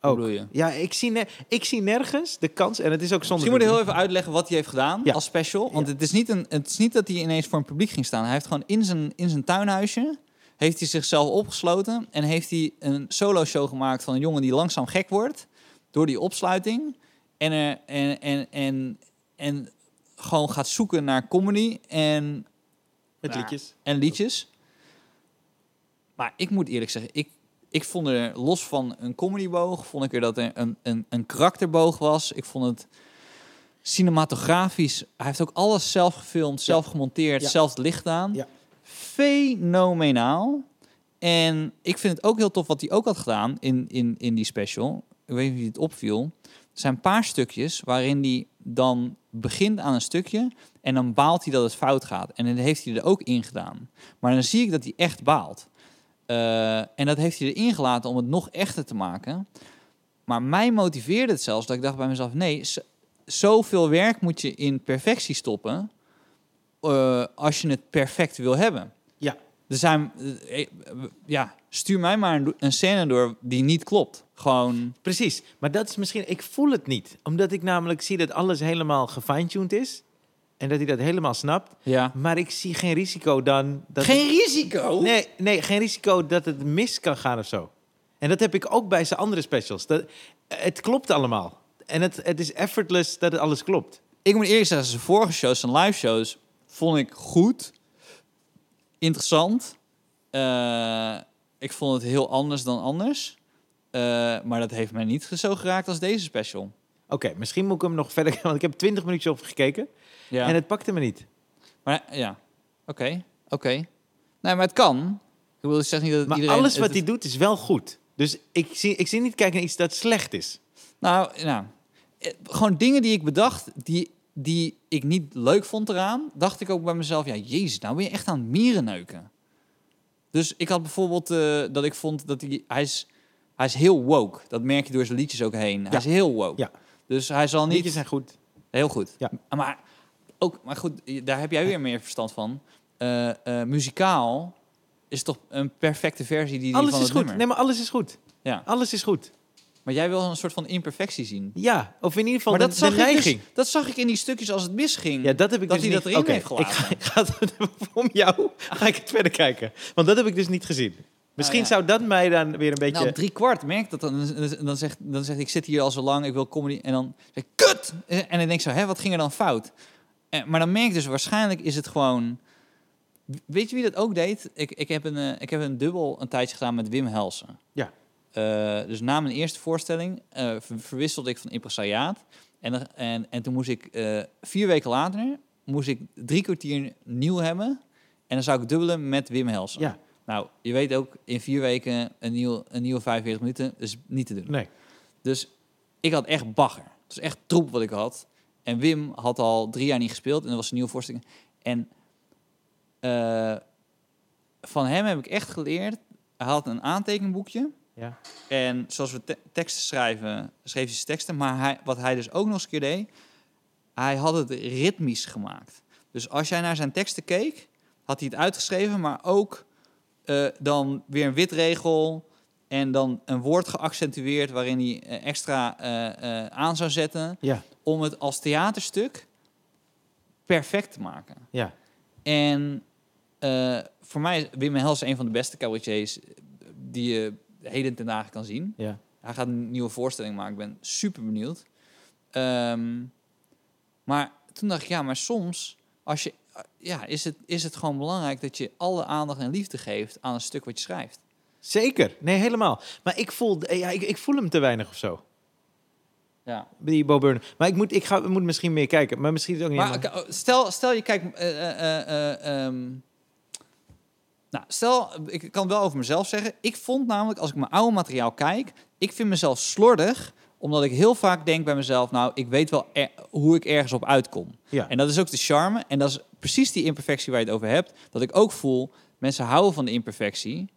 Speaker 2: Hoe
Speaker 1: Ook.
Speaker 2: bedoel je?
Speaker 1: Ja, ik zie, ne- ik zie nergens de kans. En het is ook zonder.
Speaker 2: Misschien moet je heel even uitleggen wat hij heeft gedaan
Speaker 1: Ja.
Speaker 2: als special. Want het, is niet een, het is niet dat hij ineens voor een publiek ging staan. Hij heeft gewoon in zijn, in zijn tuinhuisje... heeft hij zichzelf opgesloten... en heeft hij een solo-show gemaakt van een jongen die langzaam gek wordt... door die opsluiting. En, er, en, en, en, en gewoon gaat zoeken naar comedy en,
Speaker 1: Met
Speaker 2: Ja.
Speaker 1: liedjes.
Speaker 2: en liedjes. Maar ik moet eerlijk zeggen... Ik, ik vond er los van een comedyboog... vond ik er dat er een, een, een karakterboog was. Ik vond het cinematografisch. Hij heeft ook alles zelf gefilmd, zelf gemonteerd,
Speaker 1: Ja.
Speaker 2: zelf het licht aan.
Speaker 1: Ja.
Speaker 2: Fenomenaal. En ik vind het ook heel tof wat hij ook had gedaan in, in, in die special. Ik weet niet of je het opviel. Er zijn een paar stukjes waarin hij dan begint aan een stukje... en dan baalt hij dat het fout gaat. En dan heeft hij er ook in gedaan. Maar dan zie ik dat hij echt baalt. Eh, en dat heeft hij erin gelaten om het nog echter te maken. Maar mij motiveerde het zelfs dat ik dacht bij mezelf... nee, z- zoveel werk moet je in perfectie stoppen... eh, als je het perfect wil hebben.
Speaker 1: Ja.
Speaker 2: Er zijn... eh, eh, ja, stuur mij maar een, do- een scène door die niet klopt. Gewoon...
Speaker 1: Precies. Maar dat is misschien. Ik voel het niet. Omdat ik namelijk zie dat alles helemaal gefine-tuned is. En dat hij dat helemaal snapt.
Speaker 2: Ja.
Speaker 1: Maar ik zie geen risico dan. Dat
Speaker 2: Geen risico!
Speaker 1: Nee, nee, geen risico dat het mis kan gaan of zo. En dat heb ik ook bij zijn andere specials. Dat, het klopt allemaal. En het, het is effortless dat het alles klopt.
Speaker 2: Ik moet eerlijk zeggen, zijn vorige shows, zijn live shows, vond ik goed. Interessant. Eh, ik vond het heel anders dan anders. Eh, maar dat heeft mij niet zo geraakt als deze special.
Speaker 1: Oké, misschien moet ik hem nog verder... Want ik heb 20 minuutjes op gekeken
Speaker 2: Ja.
Speaker 1: en het pakte me niet.
Speaker 2: Maar ja, oké, oké. Nee, maar het kan. Ik bedoel, ik zeg niet dat
Speaker 1: Maar
Speaker 2: iedereen...
Speaker 1: alles wat
Speaker 2: het-
Speaker 1: hij doet is wel goed. Dus ik zie, ik zie niet kijken naar iets dat slecht is.
Speaker 2: Nou, nou eh, gewoon dingen die ik bedacht, die, die ik niet leuk vond eraan, dacht ik ook bij mezelf, ja, jezus, nou ben je echt aan het mierenneuken. Dus ik had bijvoorbeeld eh, dat ik vond dat hij, hij is, hij is heel woke. Dat merk je door zijn liedjes ook heen. Hij
Speaker 1: Ja.
Speaker 2: is heel woke.
Speaker 1: Ja.
Speaker 2: Dus hij zal niet...
Speaker 1: Liedjes zijn goed.
Speaker 2: Heel goed.
Speaker 1: Ja.
Speaker 2: M- Maar, ook, maar goed, je- daar heb jij weer meer verstand van. Eh, eh, muzikaal is toch een perfecte versie die, die
Speaker 1: Alles
Speaker 2: van
Speaker 1: is
Speaker 2: het
Speaker 1: goed.
Speaker 2: nummer.
Speaker 1: Nee, maar alles is goed.
Speaker 2: Ja.
Speaker 1: Alles is goed.
Speaker 2: Maar jij wil een soort van imperfectie zien.
Speaker 1: Ja, of in ieder geval
Speaker 2: Maar
Speaker 1: de,
Speaker 2: dat
Speaker 1: de
Speaker 2: zag, ik dus-
Speaker 1: neiging.
Speaker 2: dat zag ik in die stukjes als het misging.
Speaker 1: Ja, dat heb ik
Speaker 2: dat
Speaker 1: dus
Speaker 2: hij
Speaker 1: niet...
Speaker 2: dat erin
Speaker 1: Oké,
Speaker 2: heeft gelaten.
Speaker 1: Ik ga, ik ga het om jou. Ga ik het verder kijken. Want dat heb ik dus niet gezien. Misschien
Speaker 2: Nou ja.
Speaker 1: zou dat mij dan weer een beetje...
Speaker 2: Nou, drie kwart merk dat dan. Dan zegt, dan zegt ik zit hier al zo lang, ik wil comedy. En dan zeg ik, kut! En dan denk ik zo, hè, wat ging er dan fout? En, maar dan merk ik dus, waarschijnlijk is het gewoon... Weet je wie dat ook deed? Ik, ik, heb, een, eh, ik heb een dubbel een tijdje gedaan met Wim Helsen.
Speaker 1: Ja.
Speaker 2: Eh, dus na mijn eerste voorstelling eh, ver- verwisselde ik van impresariaat. En, dan- en, en toen moest ik eh, vier weken later moest ik drie kwartier nieuw hebben. En dan zou ik dubbelen met Wim Helsen.
Speaker 1: Ja.
Speaker 2: Nou, je weet ook, in vier weken een nieuw, een nieuwe 45 minuten is niet te doen.
Speaker 1: Nee.
Speaker 2: Dus ik had echt bagger. Het was echt troep wat ik had. En Wim had al drie jaar niet gespeeld en dat was een nieuwe voorstelling. En eh, van hem heb ik echt geleerd. Hij had een aantekenboekje.
Speaker 1: Ja.
Speaker 2: En zoals we te- teksten schrijven, schreef hij zijn teksten. Maar hij, wat hij dus ook nog eens een keer deed, hij had het ritmisch gemaakt. Dus als jij naar zijn teksten keek, had hij het uitgeschreven, maar ook eh, dan weer een witregel en dan een woord geaccentueerd waarin hij eh, extra eh, eh, aan zou zetten
Speaker 1: Ja.
Speaker 2: om het als theaterstuk perfect te maken.
Speaker 1: Ja.
Speaker 2: En eh, voor mij is Wim Hels een van de beste cabaretiers die je heden ten dagen kan zien.
Speaker 1: Ja.
Speaker 2: Hij gaat een nieuwe voorstelling maken. Ik ben super benieuwd. Ehm, maar toen dacht ik, ja, maar soms als je, ja, is, het, is het gewoon belangrijk dat je alle aandacht en liefde geeft aan een stuk wat je schrijft.
Speaker 1: Zeker. Nee, helemaal. Maar ik voel, eh, ja, ik, ik voel hem te weinig of zo.
Speaker 2: Ja.
Speaker 1: Die Bo Burnham. Maar ik moet, ik ga, ik moet misschien meer kijken. Maar misschien is het ook niet
Speaker 2: Maar
Speaker 1: helemaal-
Speaker 2: oké, oh, stel, stel je kijkt. eh, eh, eh, eh, ehm, nou, stel, ik kan het wel over mezelf zeggen. Ik vond namelijk, als ik mijn oude materiaal kijk, ik vind mezelf slordig, omdat ik heel vaak denk bij mezelf: nou, ik weet wel er- hoe ik ergens op uitkom.
Speaker 1: Ja.
Speaker 2: En dat is ook de charme. En dat is precies die imperfectie waar je het over hebt. Dat ik ook voel, mensen houden van de imperfectie.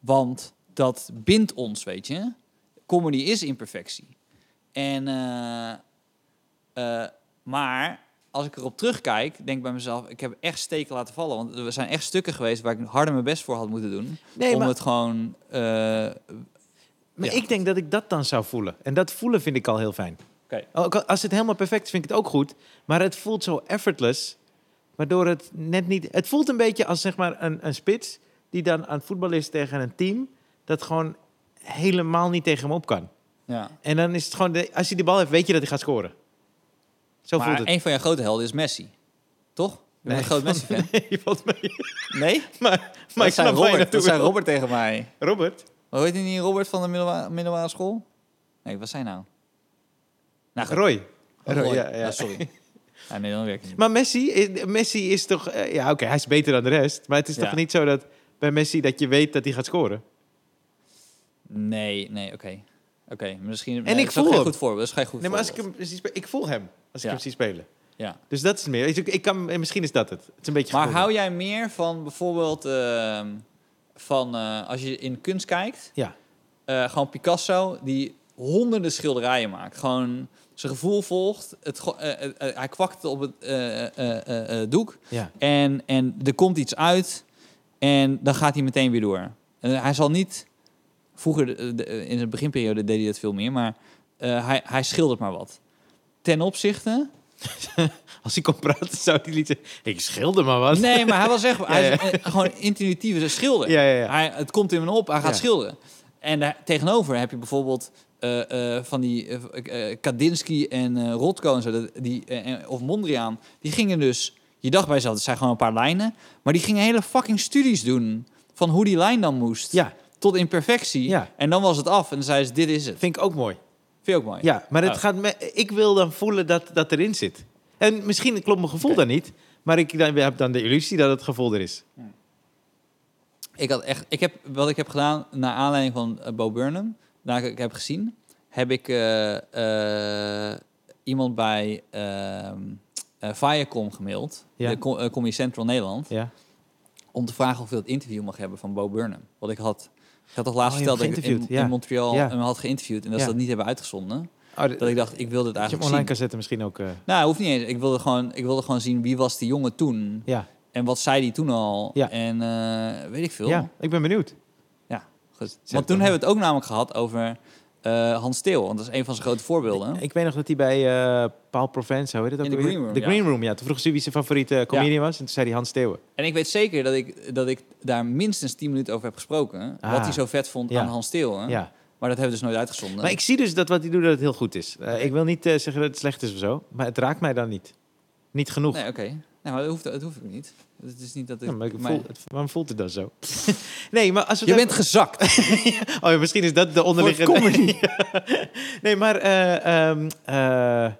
Speaker 2: Want dat bindt ons, weet je. Comedy is imperfectie. En, eh, eh, maar als ik erop terugkijk, denk ik bij mezelf... ik heb echt steken laten vallen. Want er zijn echt stukken geweest waar ik harder mijn best voor had moeten doen.
Speaker 1: Nee,
Speaker 2: om
Speaker 1: maar,
Speaker 2: het gewoon... eh,
Speaker 1: maar
Speaker 2: ja.
Speaker 1: ik denk dat ik dat dan zou voelen. En dat voelen vind ik al heel fijn.
Speaker 2: Oké.
Speaker 1: Ook al- Als het helemaal perfect is, vind ik het ook goed. Maar het voelt zo effortless. Waardoor het net niet... Het voelt een beetje als zeg maar een, een spits... die dan aan het voetballen is tegen een team... dat gewoon helemaal niet tegen hem op kan.
Speaker 2: ja.
Speaker 1: En dan is het gewoon... De, als hij de bal heeft, weet je dat hij gaat scoren. Zo
Speaker 2: maar
Speaker 1: voelt het.
Speaker 2: een van jouw grote helden is Messi. Toch? Je bent
Speaker 1: Nee.
Speaker 2: een groot Messi-fan.
Speaker 1: Nee, valt mee.
Speaker 2: Nee?
Speaker 1: Maar, maar
Speaker 2: Maar
Speaker 1: ik
Speaker 2: dat zei
Speaker 1: snap waar je
Speaker 2: Robert,
Speaker 1: naartoe
Speaker 2: dat zei
Speaker 1: wil.
Speaker 2: Robert tegen mij.
Speaker 1: Robert?
Speaker 2: Maar weet je niet Robert van de middelba- middelbare school? Nee, wat zei hij nou? Nou, goed.
Speaker 1: Roy.
Speaker 2: Oh,
Speaker 1: Roy,
Speaker 2: Roy.
Speaker 1: ja, ja.
Speaker 2: Ah, sorry. ja, nee, dan werkt het niet.
Speaker 1: Maar Messi is, Messi is toch... eh, ja, oké, hij is beter dan de rest. Maar het is
Speaker 2: Ja.
Speaker 1: toch niet zo dat bij Messi dat je weet dat hij gaat scoren?
Speaker 2: Nee, nee, oké. Oké, misschien...
Speaker 1: En
Speaker 2: nee,
Speaker 1: ik
Speaker 2: dat is geen
Speaker 1: voel hem.
Speaker 2: goed voorbeeld. Dat is geen goed
Speaker 1: Nee, maar als ik
Speaker 2: voorbeeld.
Speaker 1: hem zie spelen... Ik voel hem als ik
Speaker 2: Ja.
Speaker 1: hem zie spelen.
Speaker 2: Ja.
Speaker 1: Dus dat is het meer. Ik, ik kan, eh, misschien is dat het. Het is een beetje
Speaker 2: Maar
Speaker 1: gevoel.
Speaker 2: hou jij meer van bijvoorbeeld... ehm, van eh, als je in kunst kijkt...
Speaker 1: Ja.
Speaker 2: eh, gewoon Picasso, die honderden schilderijen maakt. Gewoon zijn gevoel volgt. Het, go- eh, eh, eh, hij kwakt op het eh, eh, eh, eh, doek.
Speaker 1: Ja.
Speaker 2: En, en er komt iets uit en dan gaat hij meteen weer door. En hij zal niet... Vroeger, de- de- in zijn beginperiode, deed hij dat veel meer. Maar eh, hij, hij schildert maar wat. Ten opzichte...
Speaker 1: Als hij kon praten, zou hij niet zeggen... Ik schilder maar wat.
Speaker 2: Nee, maar hij was echt... Hij
Speaker 1: Ja,
Speaker 2: is eh, gewoon intuïtief een schilder.
Speaker 1: Ja, ja, ja.
Speaker 2: Hij, het komt in hem op, hij gaat
Speaker 1: Ja.
Speaker 2: schilderen. En daar, tegenover heb je bijvoorbeeld eh, eh, van die eh, eh, Kandinsky en eh, Rothko en zo, dat- die, eh, eh, of Mondriaan, die gingen dus, je dacht bij jezelf, het zijn gewoon een paar lijnen, maar die gingen hele fucking studies doen van hoe die lijn dan moest.
Speaker 1: Ja.
Speaker 2: tot in perfectie.
Speaker 1: Ja.
Speaker 2: En dan was het af. En dan zei ze, dit is het.
Speaker 1: Vind ik ook mooi.
Speaker 2: Vind je ook mooi?
Speaker 1: Ja, maar het
Speaker 2: Oh.
Speaker 1: gaat me, ik wil dan voelen dat dat erin zit. En misschien klopt mijn gevoel
Speaker 2: Oké.
Speaker 1: dan niet, maar ik dan, heb dan de illusie dat het gevoel er is.
Speaker 2: Ik had echt, ik heb, wat ik heb gedaan, naar aanleiding van eh, Bo Burnham, dat ik heb gezien, heb ik eh, eh, iemand bij ehm eh, Viacom gemaild,
Speaker 1: Ja.
Speaker 2: de com- eh, Comedy Central Nederland,
Speaker 1: Ja.
Speaker 2: om te vragen of we dat interview mag hebben van Bo Burnham. Wat ik had, ik had toch laatst
Speaker 1: Oh, je
Speaker 2: verteld
Speaker 1: hebt
Speaker 2: dat ik in,
Speaker 1: geïnterviewd,
Speaker 2: in
Speaker 1: ja.
Speaker 2: Montreal
Speaker 1: Ja.
Speaker 2: hem had geïnterviewd en dat ze
Speaker 1: Ja.
Speaker 2: dat niet hebben uitgezonden.
Speaker 1: Oh, dat,
Speaker 2: Dat ik dacht, ik wilde het
Speaker 1: dat je hem
Speaker 2: eigenlijk
Speaker 1: online
Speaker 2: zien.
Speaker 1: kan zetten misschien ook. eh,
Speaker 2: Nou, hoeft niet eens. Ik wilde, gewoon, ik wilde gewoon zien wie was die jongen toen
Speaker 1: ja.
Speaker 2: en wat zei die toen al.
Speaker 1: Ja.
Speaker 2: En eh, weet ik veel.
Speaker 1: ja, ik ben benieuwd.
Speaker 2: Goed.
Speaker 1: Zet
Speaker 2: Want
Speaker 1: het
Speaker 2: toen
Speaker 1: dan
Speaker 2: hebben we het ook namelijk gehad over eh, Hans Steeuw. Want dat is een van zijn grote voorbeelden.
Speaker 1: Ik weet nog dat hij bij eh, Paul Provence, hoe heet het ook
Speaker 2: Oh. In de
Speaker 1: alweer?
Speaker 2: Green Room,
Speaker 1: De
Speaker 2: ja.
Speaker 1: Green Room, ja. Toen vroeg ze wie zijn favoriete comedian was en toen zei hij Hans Steeuwen.
Speaker 2: En ik weet zeker dat ik, dat ik daar minstens 10 minuten over heb gesproken.
Speaker 1: Ah.
Speaker 2: Wat hij zo vet vond
Speaker 1: Ja.
Speaker 2: aan Hans Steeuw. hè.
Speaker 1: Ja.
Speaker 2: Maar dat hebben we dus nooit uitgezonden.
Speaker 1: Maar ik zie dus dat wat hij doet, dat het heel goed is. Eh, ik wil niet eh, zeggen dat het slecht is of zo, maar het raakt mij dan niet. Niet genoeg.
Speaker 2: Nee, oké. Nee, maar dat hoeft, dat hoef ik niet. Het is niet dat ik...
Speaker 1: Ja, maar ik
Speaker 2: maar-
Speaker 1: voel, het- waarom voelt het dan zo? nee, maar als we
Speaker 2: Je
Speaker 1: het-
Speaker 2: bent gezakt.
Speaker 1: Oh ja, misschien is dat de onderliggende... Ja. nee, maar eh, ehm, eh, eh,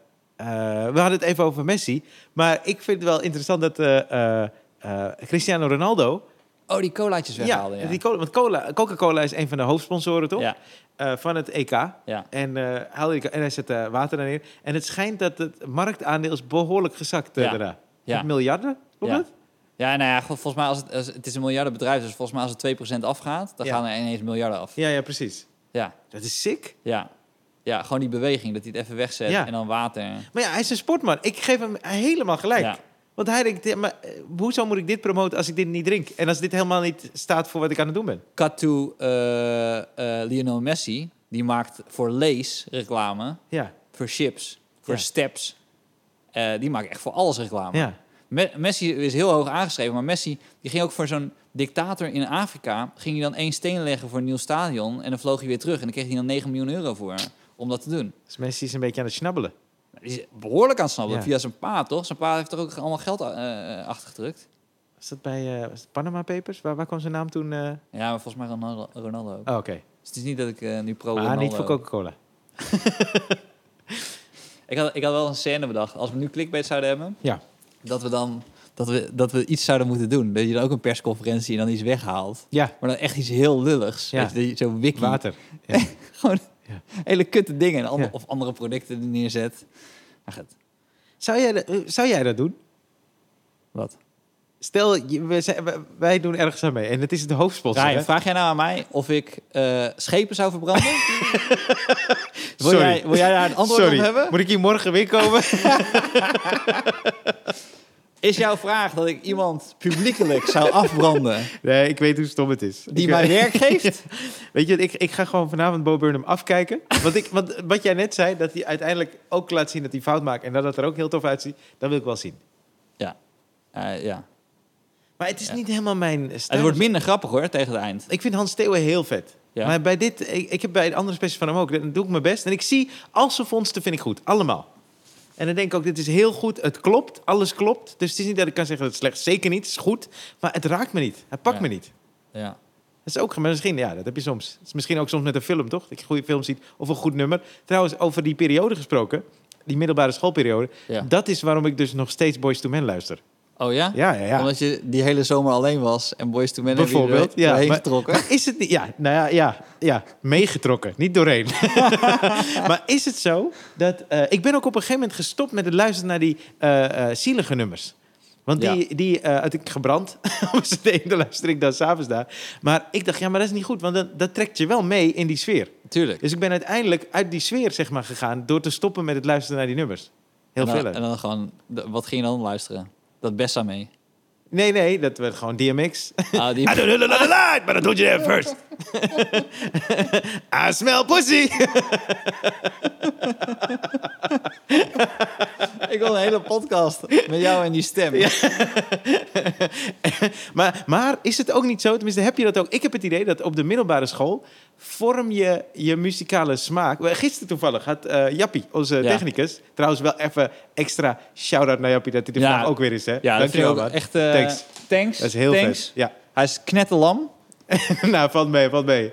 Speaker 1: we hadden het even over Messi. Maar ik vind het wel interessant dat eh, eh, eh, Cristiano Ronaldo...
Speaker 2: Oh, die colaatjes weghaalden. Ja,
Speaker 1: die cola, want cola, Coca-Cola is een van de hoofdsponsoren, toch?
Speaker 2: Ja,
Speaker 1: Eh, van het EK.
Speaker 2: ja.
Speaker 1: En, eh, haalde die, en hij zette water erin. En het schijnt dat het marktaandeel is behoorlijk gezakt eh,
Speaker 2: Ja.
Speaker 1: daarna.
Speaker 2: Ja.
Speaker 1: Met miljarden, klopt
Speaker 2: Ja.
Speaker 1: het?
Speaker 2: Ja, nou ja, go- volgens mij als het, als- het is een miljardenbedrijf, dus volgens mij als het 2% afgaat, dan
Speaker 1: Ja.
Speaker 2: gaan er ineens miljarden af.
Speaker 1: Ja, ja, precies.
Speaker 2: Ja,
Speaker 1: Dat is sick.
Speaker 2: ja. Ja, gewoon die beweging, dat hij het even wegzet
Speaker 1: Ja.
Speaker 2: en dan water.
Speaker 1: Maar ja, hij is een sportman. Ik geef hem helemaal gelijk.
Speaker 2: Ja.
Speaker 1: Want hij denkt, ja, maar eh, hoezo moet ik dit promoten als ik dit niet drink? En als dit helemaal niet staat voor wat ik aan het doen ben?
Speaker 2: Cut to eh, eh, Lionel Messi, die maakt voor Lees reclame,
Speaker 1: Ja,
Speaker 2: voor chips, voor
Speaker 1: Ja.
Speaker 2: steps. Eh, die maakt echt voor alles reclame.
Speaker 1: ja.
Speaker 2: Me- Messi is heel hoog aangeschreven, maar Messi die ging ook voor zo'n dictator in Afrika. Ging hij dan één steen leggen voor een nieuw stadion en dan vloog hij weer terug. En dan kreeg hij dan 9 miljoen euro voor om dat te doen.
Speaker 1: Dus Messi is een beetje aan het snabbelen.
Speaker 2: Die is behoorlijk aan het snappen
Speaker 1: Ja.
Speaker 2: via zijn pa, toch? Zijn pa heeft er ook allemaal geld eh, achtergedrukt.
Speaker 1: Was dat bij eh, was het Panama Papers? Waar, waar kwam zijn naam toen? eh?
Speaker 2: Ja, maar volgens mij Ronaldo, Ronaldo ook.
Speaker 1: Oh, oké.
Speaker 2: Dus het is niet dat ik eh, nu pro
Speaker 1: maar
Speaker 2: Ronaldo...
Speaker 1: niet voor Coca-Cola.
Speaker 2: Ik had, ik had wel een scène bedacht. Als we nu clickbait zouden hebben,
Speaker 1: Ja.
Speaker 2: dat we dan dat we, dat we iets zouden moeten doen. Dat je dan ook een persconferentie en dan iets weghaalt.
Speaker 1: Ja,
Speaker 2: Maar dan echt iets heel lulligs.
Speaker 1: Ja.
Speaker 2: Weet je, dat je zo'n wiki.
Speaker 1: water.
Speaker 2: Gewoon
Speaker 1: Ja.
Speaker 2: hele kutte dingen. En ander-
Speaker 1: Ja.
Speaker 2: Of andere producten er neerzet. Maar goed,
Speaker 1: Zou jij, dat- eh, zou jij dat doen?
Speaker 2: wat?
Speaker 1: Stel, je- we zijn- we- wij doen ergens aan mee. En het is het hoofdsponsor.
Speaker 2: Ryan,
Speaker 1: hè?
Speaker 2: vraag jij nou aan mij of ik eh, schepen zou verbranden? wil,
Speaker 1: Sorry.
Speaker 2: jij, wil jij daar een antwoord
Speaker 1: Sorry,
Speaker 2: op hebben?
Speaker 1: moet ik hier morgen weer komen?
Speaker 2: Is jouw vraag dat ik iemand publiekelijk zou afbranden
Speaker 1: nee, ik weet hoe stom het is.
Speaker 2: die
Speaker 1: Ik
Speaker 2: mij
Speaker 1: weet-
Speaker 2: werk geeft?
Speaker 1: Weet je, ik, ik ga gewoon vanavond Bo Burnham afkijken. Want, ik, want wat jij net zei, dat hij uiteindelijk ook laat zien dat hij fout maakt... en dat dat er ook heel tof uitziet, dat wil ik wel zien.
Speaker 2: Eh, ja.
Speaker 1: Maar het is
Speaker 2: Ja.
Speaker 1: niet helemaal mijn stijl.
Speaker 2: Het wordt minder grappig hoor, tegen het eind.
Speaker 1: Ik vind Hans Steeuwen heel vet.
Speaker 2: Ja.
Speaker 1: Maar bij dit, ik, ik heb bij een andere special van hem ook, dan doe ik mijn best. En ik zie, als ze vondsten, vind ik goed. Allemaal. En dan denk ik ook, dit is heel goed, het klopt, alles klopt. Dus het is niet dat ik kan zeggen dat het slecht is. Zeker niet, het is goed. Maar het raakt me niet, het pakt
Speaker 2: Ja.
Speaker 1: me niet.
Speaker 2: Ja.
Speaker 1: Dat is ook, maar misschien, ja, dat heb je soms. Het is misschien ook soms met een film, toch? Dat je goede film ziet of een goed nummer. Trouwens, over die periode gesproken, die middelbare schoolperiode.
Speaker 2: Ja.
Speaker 1: Dat is waarom ik dus nog steeds Boys to Men luister.
Speaker 2: Oh ja?
Speaker 1: Ja, ja, ja.
Speaker 2: Omdat je die hele zomer alleen was en Boys to Men hebben je er
Speaker 1: Bijvoorbeeld, ja,
Speaker 2: doorheen- doorheen
Speaker 1: maar-
Speaker 2: getrokken.
Speaker 1: Maar is het niet, ja, nou ja, ja, ja, meegetrokken, niet doorheen. maar is het zo dat, eh, ik ben ook op een gegeven moment gestopt met het luisteren naar die eh, eh, zielige nummers. Want die, die eh, had ik gebrand. Om ze te ene luister ik dan s'avonds daar. Maar ik dacht, ja, maar dat is niet goed. Want dat, dat trekt je wel mee in die sfeer.
Speaker 2: Tuurlijk.
Speaker 1: Dus ik ben uiteindelijk uit die sfeer zeg maar, gegaan door te stoppen met het luisteren naar die nummers. Heel
Speaker 2: en dan,
Speaker 1: veel.
Speaker 2: En dan gewoon, de- wat ging je dan luisteren? Dat Bessa mee.
Speaker 1: Nee, nee, dat werd gewoon DMX.
Speaker 2: Ah, die,
Speaker 1: I don't know the light, but I told you that first. I smell pussy.
Speaker 2: ik wil een hele podcast met jou en die stem.
Speaker 1: Maar, maar is het ook niet zo, tenminste heb je dat ook? Ik heb het idee dat op de middelbare school vorm je je muzikale smaak. Wel, Gisteren toevallig had eh, Jappie, onze
Speaker 2: Ja.
Speaker 1: technicus, trouwens wel even extra shout-out naar Jappie dat hij er
Speaker 2: Ja.
Speaker 1: vandaag ook weer is. Hè?
Speaker 2: Ja, dat vind ik
Speaker 1: Dankjewel man.
Speaker 2: ook echt... eh,
Speaker 1: Thanks.
Speaker 2: Thanks.
Speaker 1: Dat is heel
Speaker 2: Thanks.
Speaker 1: vet. Ja.
Speaker 2: Hij is knetterlam.
Speaker 1: nou, valt mee, valt mee.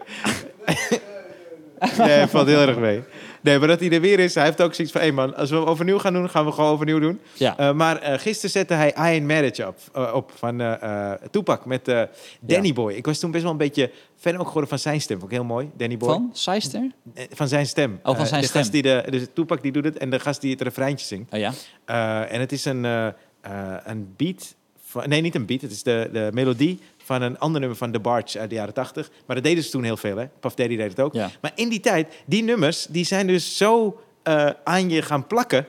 Speaker 1: nee, valt heel erg mee. Nee, maar dat hij er weer is, hij heeft ook zoiets van... hé man, als we hem overnieuw gaan doen, gaan we gewoon overnieuw doen.
Speaker 2: Ja.
Speaker 1: Eh, maar eh, gisteren zette hij Iron Marriage op, eh, op van eh eh, Tupac met eh, Danny Boy. Ik was toen best wel een beetje fan ook geworden van zijn stem. Ook heel mooi, Danny Boy.
Speaker 2: Van? Seister?
Speaker 1: Eh, van zijn stem.
Speaker 2: Oh, van
Speaker 1: Eh,
Speaker 2: zijn
Speaker 1: de
Speaker 2: stem.
Speaker 1: Gast die de, dus Tupac die doet het en de gast die het refreintje zingt.
Speaker 2: Oh ja.
Speaker 1: Eh, en het is een, eh, eh, een beat. Van, nee, niet een beat. Het is de, de melodie van een ander nummer van The Barge uit de jaren 80. Maar dat deden ze toen heel veel, hè? Puff Daddy deed het ook.
Speaker 2: Ja.
Speaker 1: Maar in die tijd, die nummers, die zijn dus zo eh, aan je gaan plakken...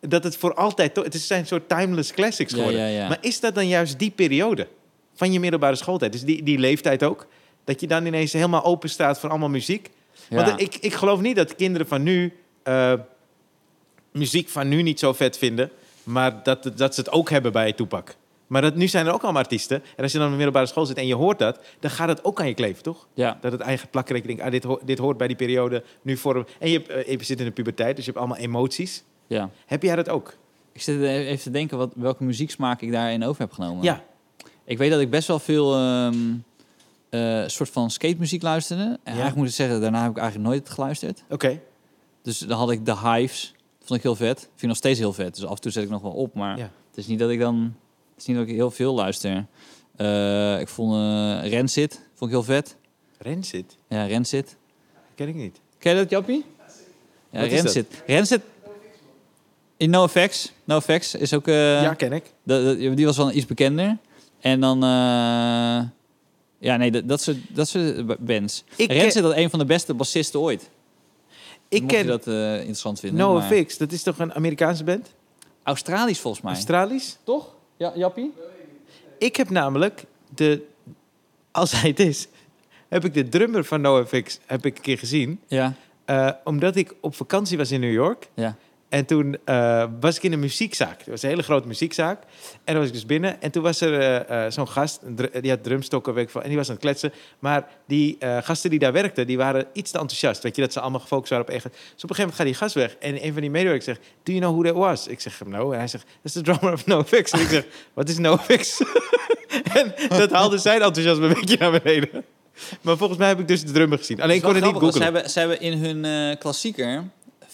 Speaker 1: dat het voor altijd... to- Het is- zijn een soort timeless classics
Speaker 2: Ja,
Speaker 1: geworden.
Speaker 2: ja, ja.
Speaker 1: Maar is dat dan juist die periode van je middelbare schooltijd? Dus die, die leeftijd ook? Dat je dan ineens helemaal open staat voor allemaal muziek?
Speaker 2: Ja.
Speaker 1: Want ik, ik geloof niet dat kinderen van nu eh, muziek van nu niet zo vet vinden, maar dat, het- dat ze het ook hebben bij Toepak. Maar dat, nu zijn er ook allemaal artiesten. En als je dan op de middelbare school zit en je hoort dat, dan gaat het ook aan je kleven, toch?
Speaker 2: ja.
Speaker 1: Dat het eigen plakken. Dat je denkt, ah, dit, ho- dit hoort bij die periode. Nu vorm. En je, hebt, eh, je zit in de puberteit, dus je hebt allemaal emoties.
Speaker 2: Ja.
Speaker 1: Heb jij dat ook?
Speaker 2: Ik zit even te denken wat, welke muzieksmaak ik daarin over heb genomen.
Speaker 1: Ja.
Speaker 2: Ik weet dat ik best wel veel ehm, eh, soort van skatemuziek luisterde. En eigenlijk moet ik zeggen, daarna heb ik eigenlijk nooit geluisterd.
Speaker 1: Oké.
Speaker 2: Dus dan had ik de Hives. Vond ik heel vet. Vind ik nog steeds heel vet. Dus af en toe zet ik nog wel op. Maar
Speaker 1: Ja.
Speaker 2: het is niet dat ik dan... Het is niet dat ik heel veel luister. Eh, ik vond eh Rancid. Vond ik heel vet.
Speaker 1: Rancid?
Speaker 2: Ja, Rancid.
Speaker 1: Ken ik niet.
Speaker 2: Ken je dat, Jappie? Ja,
Speaker 1: Wat is
Speaker 2: Rancid. Rancid... In NoFX. NoFX is ook... eh,
Speaker 1: ja, ken ik.
Speaker 2: dat- dat- die was wel iets bekender. En dan... eh, ja, nee, dat, dat, soort, dat soort bands.
Speaker 1: Ik ken-
Speaker 2: Rancid had een van de beste bassisten ooit.
Speaker 1: Ik
Speaker 2: Mocht
Speaker 1: ken
Speaker 2: je dat eh, interessant vinden.
Speaker 1: No
Speaker 2: maar-
Speaker 1: Fix. Dat is toch een Amerikaanse band?
Speaker 2: Australisch volgens mij.
Speaker 1: Australisch?
Speaker 2: Toch? Ja, Jappie?
Speaker 1: Ik heb namelijk de, als hij het is, heb ik de drummer van NoFX heb ik een keer gezien.
Speaker 2: Ja.
Speaker 1: Eh, omdat ik op vakantie was in New York.
Speaker 2: Ja.
Speaker 1: En toen eh, was ik in een muziekzaak. Er was een hele grote muziekzaak. En dan was ik dus binnen. En toen was er eh, eh, zo'n gast, een dru- die had drumstokken, weet ik veel, en die was aan het kletsen. Maar die eh, gasten die daar werkten, die waren iets te enthousiast. Weet je, dat ze allemaal gefocust waren op één gast. Dus op een gegeven moment gaat die gast weg. En een van die medewerkers zegt, do you know who that was? Ik zeg, no. En hij zegt, dat is de drummer of NoFX. En ik zeg, wat is NoFX? en dat haalde zijn enthousiasme een beetje naar beneden. Maar volgens mij heb ik dus de drummer gezien. Alleen ik kon het niet googlen.
Speaker 2: Ze hebben, ze hebben in hun eh, klassieker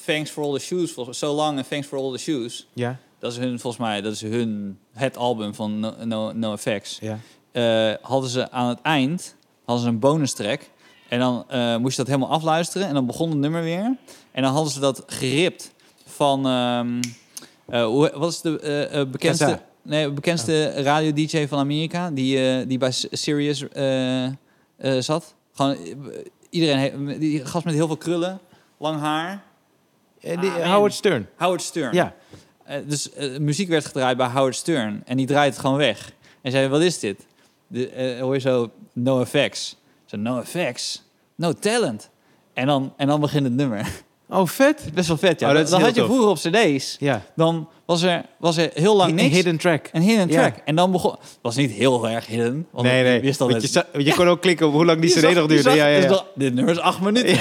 Speaker 2: Thanks for All the Shoes, volgens, So Long en Thanks for All the Shoes.
Speaker 1: Ja,
Speaker 2: Dat is hun, volgens mij, dat is hun, het album van No, no, No Effects.
Speaker 1: ja.
Speaker 2: Eh, hadden ze aan het eind hadden ze een bonus track. En dan eh, moest je dat helemaal afluisteren. En dan begon het nummer weer. En dan hadden ze dat geript van. ehm, eh, hoe, wat is de eh, eh, bekendste.
Speaker 1: Gaza.
Speaker 2: Nee, bekendste radio-DJ van Amerika. Die, eh, die bij S- Sirius eh, eh, zat. Gewoon eh, iedereen. he- Die gast met heel veel krullen. Lang haar.
Speaker 1: Eh, die-
Speaker 2: Ah, man.
Speaker 1: Howard Stern.
Speaker 2: Howard Stern.
Speaker 1: Ja.
Speaker 2: Eh, dus eh, muziek werd gedraaid bij Howard Stern. En die draait het gewoon weg. En zei, wat is dit? De, eh, hoor je zo, no effects. Zo, no effects? No talent. En dan, en dan begint het nummer. Het
Speaker 1: Oh, vet.
Speaker 2: is best wel vet, ja.
Speaker 1: Oh, dat
Speaker 2: dat
Speaker 1: is
Speaker 2: dan
Speaker 1: heel
Speaker 2: had je
Speaker 1: tof.
Speaker 2: vroeger op cd's.
Speaker 1: Ja.
Speaker 2: Dan was er, was er heel lang
Speaker 1: Een
Speaker 2: niks.
Speaker 1: hidden track.
Speaker 2: Een hidden
Speaker 1: Ja.
Speaker 2: track. En dan begon... Het was niet heel erg hidden. Want
Speaker 1: nee,
Speaker 2: ik
Speaker 1: nee.
Speaker 2: wist al
Speaker 1: want je,
Speaker 2: dat-
Speaker 1: za- want je kon ook klikken op hoe lang die
Speaker 2: je
Speaker 1: cd
Speaker 2: zag-
Speaker 1: nog
Speaker 2: je
Speaker 1: duurde.
Speaker 2: zag-
Speaker 1: Ja, ja,
Speaker 2: dus
Speaker 1: ja.
Speaker 2: dan- dit nummer is acht minuten.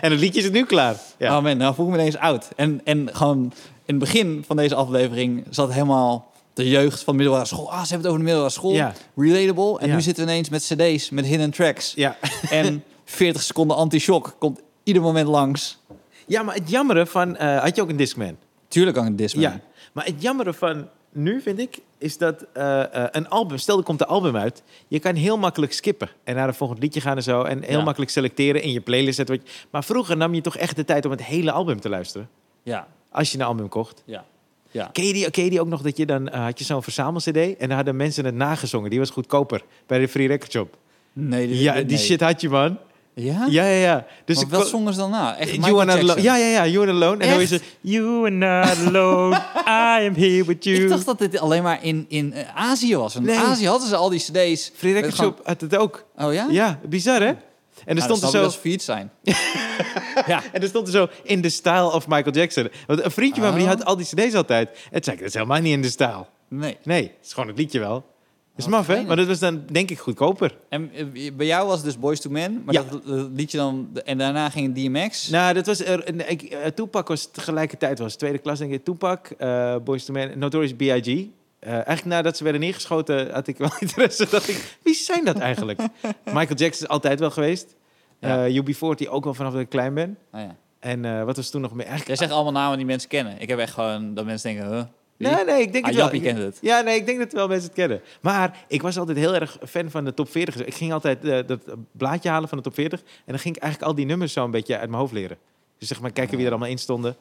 Speaker 1: En het liedje is nu klaar. Ja.
Speaker 2: Oh man, nou voel ik me ineens oud. En, en gewoon in het begin van deze aflevering zat helemaal de jeugd van middelbare school. Ah, ze hebben het over de middelbare school.
Speaker 1: Ja.
Speaker 2: Relatable. En
Speaker 1: Ja.
Speaker 2: nu zitten we ineens met cd's, met hidden tracks.
Speaker 1: Ja.
Speaker 2: En 40 seconden anti-shock komt ieder moment langs.
Speaker 1: ja, maar het jammere van... eh, had je ook een Discman?
Speaker 2: Tuurlijk aan het Disman.
Speaker 1: Ja. Maar het jammere van nu, vind ik, is dat eh, eh, een album... Stel, er komt een album uit. Je kan heel makkelijk skippen. En naar een volgend liedje gaan en zo. En heel
Speaker 2: Ja.
Speaker 1: makkelijk selecteren in je playlist. zetten wat je- Maar vroeger nam je toch echt de tijd om het hele album te luisteren.
Speaker 2: Ja.
Speaker 1: Als je een album kocht.
Speaker 2: Ja. Ja.
Speaker 1: Ken je die, ken je die ook nog dat je dan... eh, had je zo'n verzamel-cd en dan hadden mensen het nagezongen. Die was goedkoper bij de Free Record Shop.
Speaker 2: Nee, dit-
Speaker 1: Ja,
Speaker 2: dit-
Speaker 1: die
Speaker 2: nee.
Speaker 1: shit had je, man.
Speaker 2: Ja?
Speaker 1: Ja, ja, ja. Dus
Speaker 2: Dus
Speaker 1: ik
Speaker 2: wat
Speaker 1: kon-
Speaker 2: zongen ze dan na? Echt Michael
Speaker 1: You are not alone.
Speaker 2: Jackson?
Speaker 1: Ja, ja, ja. You are not alone. En dan is
Speaker 2: Echt?
Speaker 1: het... You are not alone. I am here with you.
Speaker 2: Ik dacht dat dit alleen maar in, in eh, Azië was. Want
Speaker 1: Nee.
Speaker 2: In Azië hadden ze al die cd's.
Speaker 1: Free Record
Speaker 2: Met gewoon-
Speaker 1: Shop had het ook.
Speaker 2: Oh ja?
Speaker 1: Ja, bizar, hè? En er,
Speaker 2: Ah,
Speaker 1: stond er,
Speaker 2: dan snap ik
Speaker 1: zo,
Speaker 2: dat ze failliet zijn. ja.
Speaker 1: en er stond er zo in de stijl of Michael Jackson. Want een vriendje van me die
Speaker 2: Oh.
Speaker 1: had al die cd's altijd. En toen zei ik, dat is helemaal niet in de stijl.
Speaker 2: Nee.
Speaker 1: Nee, het is gewoon het liedje wel. Dat is
Speaker 2: Wat
Speaker 1: maf, hè?
Speaker 2: gemeen.
Speaker 1: Maar dat was dan denk ik goedkoper.
Speaker 2: En eh, bij jou was het dus Boys to Men, maar
Speaker 1: Ja.
Speaker 2: dat, dat liedje dan en daarna ging DMX.
Speaker 1: Nou, dat was er. en Ik, eh, Tupac was tegelijkertijd was tweede klas denk ik. Tupac, eh Boyz II Men, Notorious B.I.G. eh, eigenlijk nadat ze werden neergeschoten, had ik wel interesse. Dat ik, wie zijn dat eigenlijk? Michael Jackson is altijd wel geweest.
Speaker 2: Ja.
Speaker 1: Eh UB40 ook wel vanaf dat ik klein ben.
Speaker 2: Nou ja.
Speaker 1: En eh, wat was toen nog meer? Eigenlijk,
Speaker 2: Jij zegt allemaal namen die mensen kennen. Ik heb echt gewoon dat mensen denken, huh? wie?
Speaker 1: nee, nee, ik denk
Speaker 2: Ah,
Speaker 1: het wel.
Speaker 2: Jappie kent het.
Speaker 1: Ja, nee, ik denk dat wel mensen het kennen. Maar ik was altijd heel erg fan van de top 40. Ik ging altijd eh, dat blaadje halen van de top 40. En dan ging ik eigenlijk al die nummers zo een beetje uit mijn hoofd leren. Dus zeg maar
Speaker 2: Ah.
Speaker 1: kijken wie er allemaal in stonden.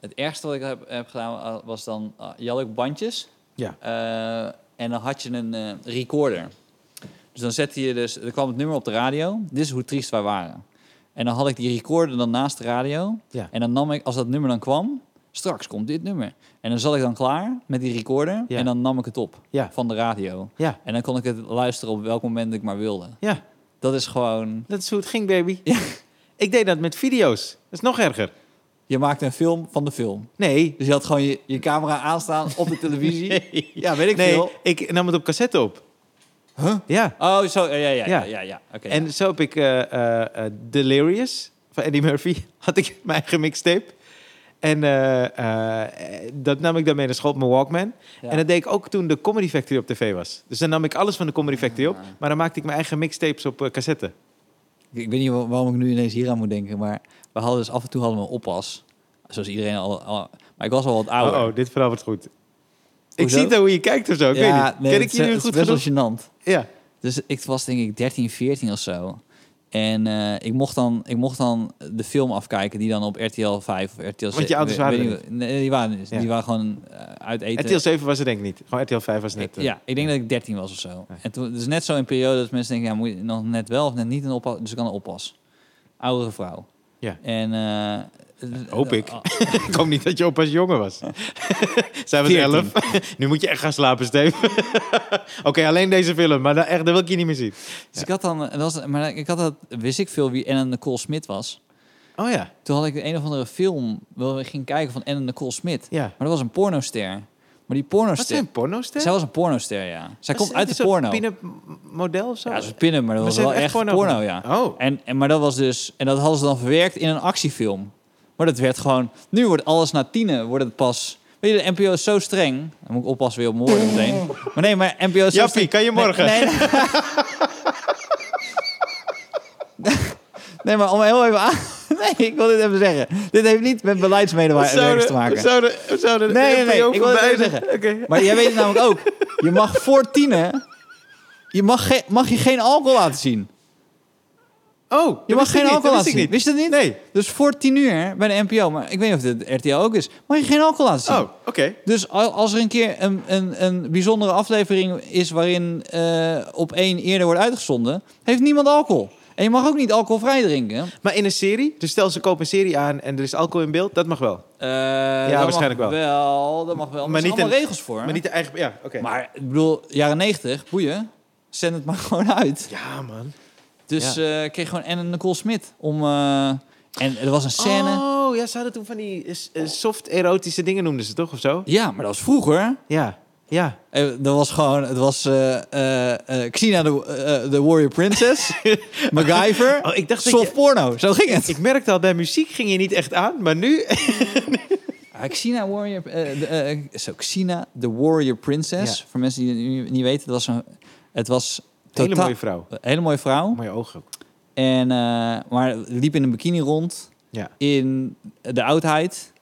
Speaker 2: Het ergste wat ik heb, heb gedaan eh, was dan, uh, je had ook bandjes.
Speaker 1: Ja.
Speaker 2: Eh, en dan had je een eh, recorder. Dus dan zette je dus, er kwam het nummer op de radio. Dit is hoe triest wij waren. En dan had ik die recorder dan naast de radio.
Speaker 1: Ja.
Speaker 2: En dan nam ik, als dat nummer dan kwam, straks komt dit nummer. En dan zat ik dan klaar met die recorder.
Speaker 1: Ja.
Speaker 2: En dan nam ik het op
Speaker 1: Ja.
Speaker 2: van de radio.
Speaker 1: Ja.
Speaker 2: En dan kon ik het luisteren op welk moment ik maar wilde.
Speaker 1: Ja,
Speaker 2: Dat is gewoon,
Speaker 1: dat is hoe het ging, baby. Ik deed dat met video's. Dat is nog erger.
Speaker 2: je maakte een film van de film.
Speaker 1: Nee,
Speaker 2: Dus je had gewoon je, je camera aanstaan op de televisie. Ja, weet ik
Speaker 1: nee,
Speaker 2: veel.
Speaker 1: ik nam het op cassette op.
Speaker 2: Huh?
Speaker 1: Ja.
Speaker 2: Oh, zo, ja, ja,
Speaker 1: Ja.
Speaker 2: ja, ja, ja, ja. Oké.
Speaker 1: En zo heb ik eh, eh, eh, Delirious van Eddie Murphy. Had ik mijn eigen mixtape. En eh, eh, dat nam ik dan mee naar school op mijn Walkman.
Speaker 2: Ja.
Speaker 1: En dat deed ik ook toen de Comedy Factory op tv was. Dus dan nam ik alles van de Comedy Factory
Speaker 2: Ah.
Speaker 1: op. Maar dan maakte ik mijn eigen mixtapes op eh, cassette.
Speaker 2: Ik, ik weet niet wa- waarom ik nu ineens hier aan moet denken, maar we hadden dus af en toe hadden we een oppas. Zoals iedereen al, al- Maar ik was al wat ouder.
Speaker 1: Oh, oh, dit verhaal wordt goed. Ik
Speaker 2: Hoezo?
Speaker 1: zie dan hoe je kijkt of zo. Ik weet niet.
Speaker 2: nee,
Speaker 1: Ken
Speaker 2: het
Speaker 1: ik
Speaker 2: is-
Speaker 1: je nu
Speaker 2: het is
Speaker 1: goed
Speaker 2: best
Speaker 1: genoeg?
Speaker 2: wel gênant.
Speaker 1: Ja.
Speaker 2: Dus ik was denk ik 13, 14 of zo. En eh, ik, mocht dan, ik mocht dan de film afkijken die dan op RTL 5 of RTL 6...
Speaker 1: Want je ouders waren er
Speaker 2: Nee, die waren, er niet.
Speaker 1: Ja.
Speaker 2: die waren gewoon eh, uit eten.
Speaker 1: RTL 7 was het denk ik niet. Gewoon RTL 5 was net. eh,
Speaker 2: ja, ik denk dat ik 13 was of zo. En toen, dus net zo in periode dat mensen denken, ja, moet je nog net wel of net niet een oppas. Dus ik kan een oppas. Oudere vrouw.
Speaker 1: Ja.
Speaker 2: En eh,
Speaker 1: Hoop ik.
Speaker 2: eh,
Speaker 1: Ik hoop niet dat je opa's jongen was. Zij was
Speaker 2: Veertien.
Speaker 1: elf. nu moet je echt gaan slapen, Steve. Oké, alleen deze film. Maar dan, echt, dat wil ik je niet meer zien.
Speaker 2: Dus ik had dan, dat was, maar ik had dat, wist ik veel wie Anna Nicole Smit was.
Speaker 1: Oh ja.
Speaker 2: Toen had ik een of andere film, wel ik ging kijken van Anna Nicole Smit.
Speaker 1: Ja.
Speaker 2: Maar dat was een pornoster. Maar die
Speaker 1: Wat
Speaker 2: pornoster,
Speaker 1: zijn porno's, Stef?
Speaker 2: zij was een pornoster, ja. Zij komt
Speaker 1: Is-
Speaker 2: uit
Speaker 1: is
Speaker 2: de
Speaker 1: dat
Speaker 2: porno.
Speaker 1: pin-up model of zo?
Speaker 2: Ja, ze is pinnen, maar dat
Speaker 1: Oh. Maar
Speaker 2: was
Speaker 1: ze
Speaker 2: wel
Speaker 1: heeft
Speaker 2: echt
Speaker 1: echt
Speaker 2: porno,
Speaker 1: porno
Speaker 2: ja.
Speaker 1: Oh.
Speaker 2: En, en, maar dat was dus, en dat hadden ze dan verwerkt in een actiefilm. Maar dat werd gewoon, nu wordt alles na tienen, wordt het pas... Weet je, de NPO is zo streng. Dan moet ik oppassen weer op mijn woorden meteen. Maar nee, maar NPO is zo
Speaker 1: Jappie,
Speaker 2: streng.
Speaker 1: kan je morgen?
Speaker 2: Nee, nee, Nee, maar om heel even aan... Nee, ik wil dit even zeggen. Dit heeft niet met beleidsmedewerkers te maken.
Speaker 1: Zouden, zouden
Speaker 2: Nee, nee, nee, ik wil het
Speaker 1: bij
Speaker 2: even zeggen. Maar jij weet het namelijk ook. Je mag voor tienen... Je mag, ge- mag je geen alcohol laten zien.
Speaker 1: Oh,
Speaker 2: Je mag geen alcohol laten
Speaker 1: ik
Speaker 2: zien.
Speaker 1: niet.
Speaker 2: Wist je dat niet?
Speaker 1: Nee.
Speaker 2: Dus voor tien uur bij de NPO, maar ik weet niet of dit RTL ook is, mag je geen alcohol laten zien.
Speaker 1: Oh, oké.
Speaker 2: Dus al- als er een keer een, een, een bijzondere aflevering is waarin eh, op één eerder wordt uitgezonden, heeft niemand alcohol. En je mag ook niet alcoholvrij drinken.
Speaker 1: Maar in een serie? Dus stel ze kopen een serie aan en er is alcohol in beeld. Dat mag wel.
Speaker 2: ja,
Speaker 1: waarschijnlijk wel.
Speaker 2: wel. Dat mag wel. Maar
Speaker 1: Maar
Speaker 2: er zijn
Speaker 1: niet
Speaker 2: allemaal
Speaker 1: een-
Speaker 2: regels voor.
Speaker 1: Maar niet de eigen... Ja, oké.
Speaker 2: Maar, ik bedoel, jaren negentig, boeien, zend het maar gewoon uit.
Speaker 1: Ja, man.
Speaker 2: Dus eh kreeg gewoon en Nicole Smit om... eh, en er was een scène.
Speaker 1: Oh, ja, ze hadden toen van die eh, eh, soft-erotische dingen noemden ze toch, of zo?
Speaker 2: Ja, maar dat was vroeger.
Speaker 1: Ja, ja.
Speaker 2: Eh, Dat was gewoon, het was eh eh, eh, Xena de, eh, de Warrior Princess, MacGyver,
Speaker 1: Oh, ik dacht dat
Speaker 2: soft
Speaker 1: je-
Speaker 2: porno. Zo ging het.
Speaker 1: Ik merkte al, bij muziek ging je niet echt aan, maar nu...
Speaker 2: Ah, Xena, Warrior, eh, de, eh, zo, Xena de Warrior Princess,
Speaker 1: Ja.
Speaker 2: voor mensen die het nu niet weten, dat was een, het was
Speaker 1: Hele
Speaker 2: totaal-
Speaker 1: mooie vrouw.
Speaker 2: een hele mooie vrouw.
Speaker 1: Mooie ogen ook.
Speaker 2: En, eh, maar liep in een bikini rond,
Speaker 1: Ja.
Speaker 2: in de oudheid,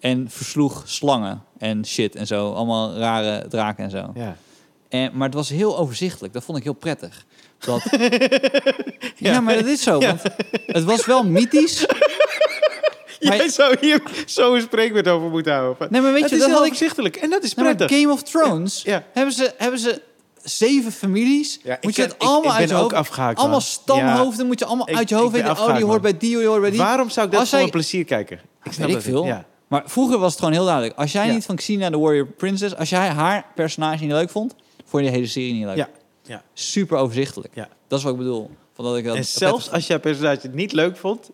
Speaker 2: en versloeg slangen en shit en zo. Allemaal rare draken en zo.
Speaker 1: Ja.
Speaker 2: En, maar het was heel overzichtelijk. Dat vond ik heel prettig. Dat... ja. maar dat is zo. Want het was wel mythisch. Maar-
Speaker 1: Jij zou hier zo'n spreekwoord over moeten houden. Van,
Speaker 2: Nee, maar weet
Speaker 1: het
Speaker 2: je,
Speaker 1: is
Speaker 2: dat
Speaker 1: heel
Speaker 2: had ik...
Speaker 1: overzichtelijk en dat is
Speaker 2: Nee, maar
Speaker 1: prettig.
Speaker 2: Game of Thrones
Speaker 1: Ja, ja.
Speaker 2: Hebben, ze, hebben ze zeven families.
Speaker 1: Ja, ik
Speaker 2: moet je
Speaker 1: ken-
Speaker 2: het
Speaker 1: ik-
Speaker 2: allemaal
Speaker 1: ik ben
Speaker 2: uit je
Speaker 1: ook
Speaker 2: hoofd...
Speaker 1: afgehaakt,
Speaker 2: allemaal
Speaker 1: man.
Speaker 2: stamhoofden moet je allemaal
Speaker 1: Ik-
Speaker 2: uit je
Speaker 1: ik
Speaker 2: hoofd
Speaker 1: ben
Speaker 2: weten. Oh, die
Speaker 1: afgehaakt,
Speaker 2: hoort
Speaker 1: man.
Speaker 2: bij die, die hoort bij die.
Speaker 1: Waarom zou ik dat
Speaker 2: Als
Speaker 1: voor
Speaker 2: jij-
Speaker 1: mijn plezier kijken? Ik snap
Speaker 2: Weet
Speaker 1: dat
Speaker 2: ik
Speaker 1: niet.
Speaker 2: veel.
Speaker 1: Ja.
Speaker 2: Maar vroeger was het gewoon heel duidelijk. Als jij
Speaker 1: Ja.
Speaker 2: niet van Xena de Warrior Princess... Als jij haar personage niet leuk vond... Vond je de hele serie niet leuk.
Speaker 1: Ja. ja.
Speaker 2: Super overzichtelijk.
Speaker 1: Ja.
Speaker 2: Dat is wat ik bedoel. Van dat ik dat
Speaker 1: En
Speaker 2: prettig
Speaker 1: zelfs als jij personage het niet leuk vond,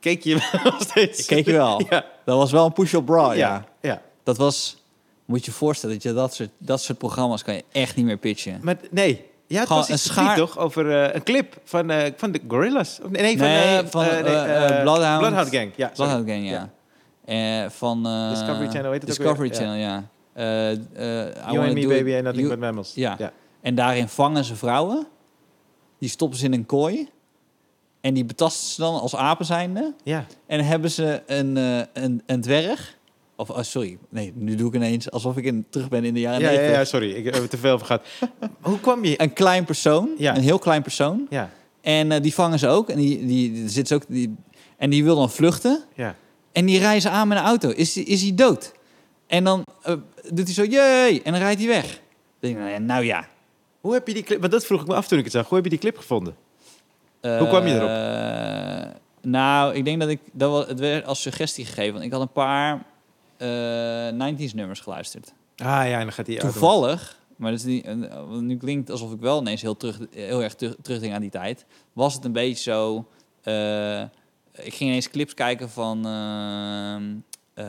Speaker 1: keek je wel nog steeds.
Speaker 2: Ik keek wel.
Speaker 1: Ja.
Speaker 2: Dat was wel een push-up bra, ja.
Speaker 1: Ja. ja.
Speaker 2: Dat was... Moet je je voorstellen dat je dat soort, dat soort programma's kan je echt niet meer pitchen.
Speaker 1: Maar nee. Ja, het
Speaker 2: Gewoon
Speaker 1: was iets
Speaker 2: een
Speaker 1: een schaar...
Speaker 2: schaar-
Speaker 1: toch? Over eh, een clip van, eh, van de Gorillas. Of, nee, nee, van,
Speaker 2: Nee,
Speaker 1: eh,
Speaker 2: van,
Speaker 1: eh, nee,
Speaker 2: eh, eh,
Speaker 1: eh,
Speaker 2: Bloodhound.
Speaker 1: Gang. Ja, sorry.
Speaker 2: Bloodhound Gang, ja. Eh, van... eh,
Speaker 1: Discovery Channel, heet het ook
Speaker 2: Discovery
Speaker 1: weer, ja.
Speaker 2: Channel, ja. eh, eh, I
Speaker 1: You
Speaker 2: Wanna
Speaker 1: and
Speaker 2: Do
Speaker 1: me,
Speaker 2: It-
Speaker 1: baby, en nothing
Speaker 2: You-
Speaker 1: but mammals.
Speaker 2: Ja.
Speaker 1: Ja.
Speaker 2: En daarin vangen ze vrouwen. Die stoppen ze in een kooi. En die betasten ze dan als apen zijnde.
Speaker 1: ja.
Speaker 2: En hebben ze een, eh, een, een dwerg. Of, ah, sorry, nee, nu doe ik ineens alsof ik in, terug ben in de jaren
Speaker 1: Ja, ja,
Speaker 2: 90.
Speaker 1: ja, sorry. Ik eh, heb er te veel over gehad. Hoe kwam je...
Speaker 2: Een klein persoon,
Speaker 1: Ja.
Speaker 2: een heel klein persoon.
Speaker 1: Ja,
Speaker 2: En eh, die vangen ze ook. En die, die, die zit ze ook. Die, en die wil dan vluchten.
Speaker 1: ja.
Speaker 2: En die rijden ze aan met een auto. Is, die- is hij dood? En dan eh, doet hij zo, jee, en dan rijdt hij weg. Dan denk ik, nou ja, nou ja.
Speaker 1: Hoe heb je die clip... Want dat vroeg ik me af toen ik het zag. Hoe heb je die clip gevonden? Hoe kwam je erop?
Speaker 2: Eh, nou, ik denk dat ik dat wel, het werd als suggestie gegeven. Want ik had een paar eh 90s nummers geluisterd.
Speaker 1: Ah ja, en dan gaat die auto-
Speaker 2: Toevallig, maar dat is niet, een- want nu klinkt alsof ik wel ineens heel, terug, heel erg terug, terugdenk aan die tijd. Was het een beetje zo. eh, ik ging ineens clips kijken van ehm,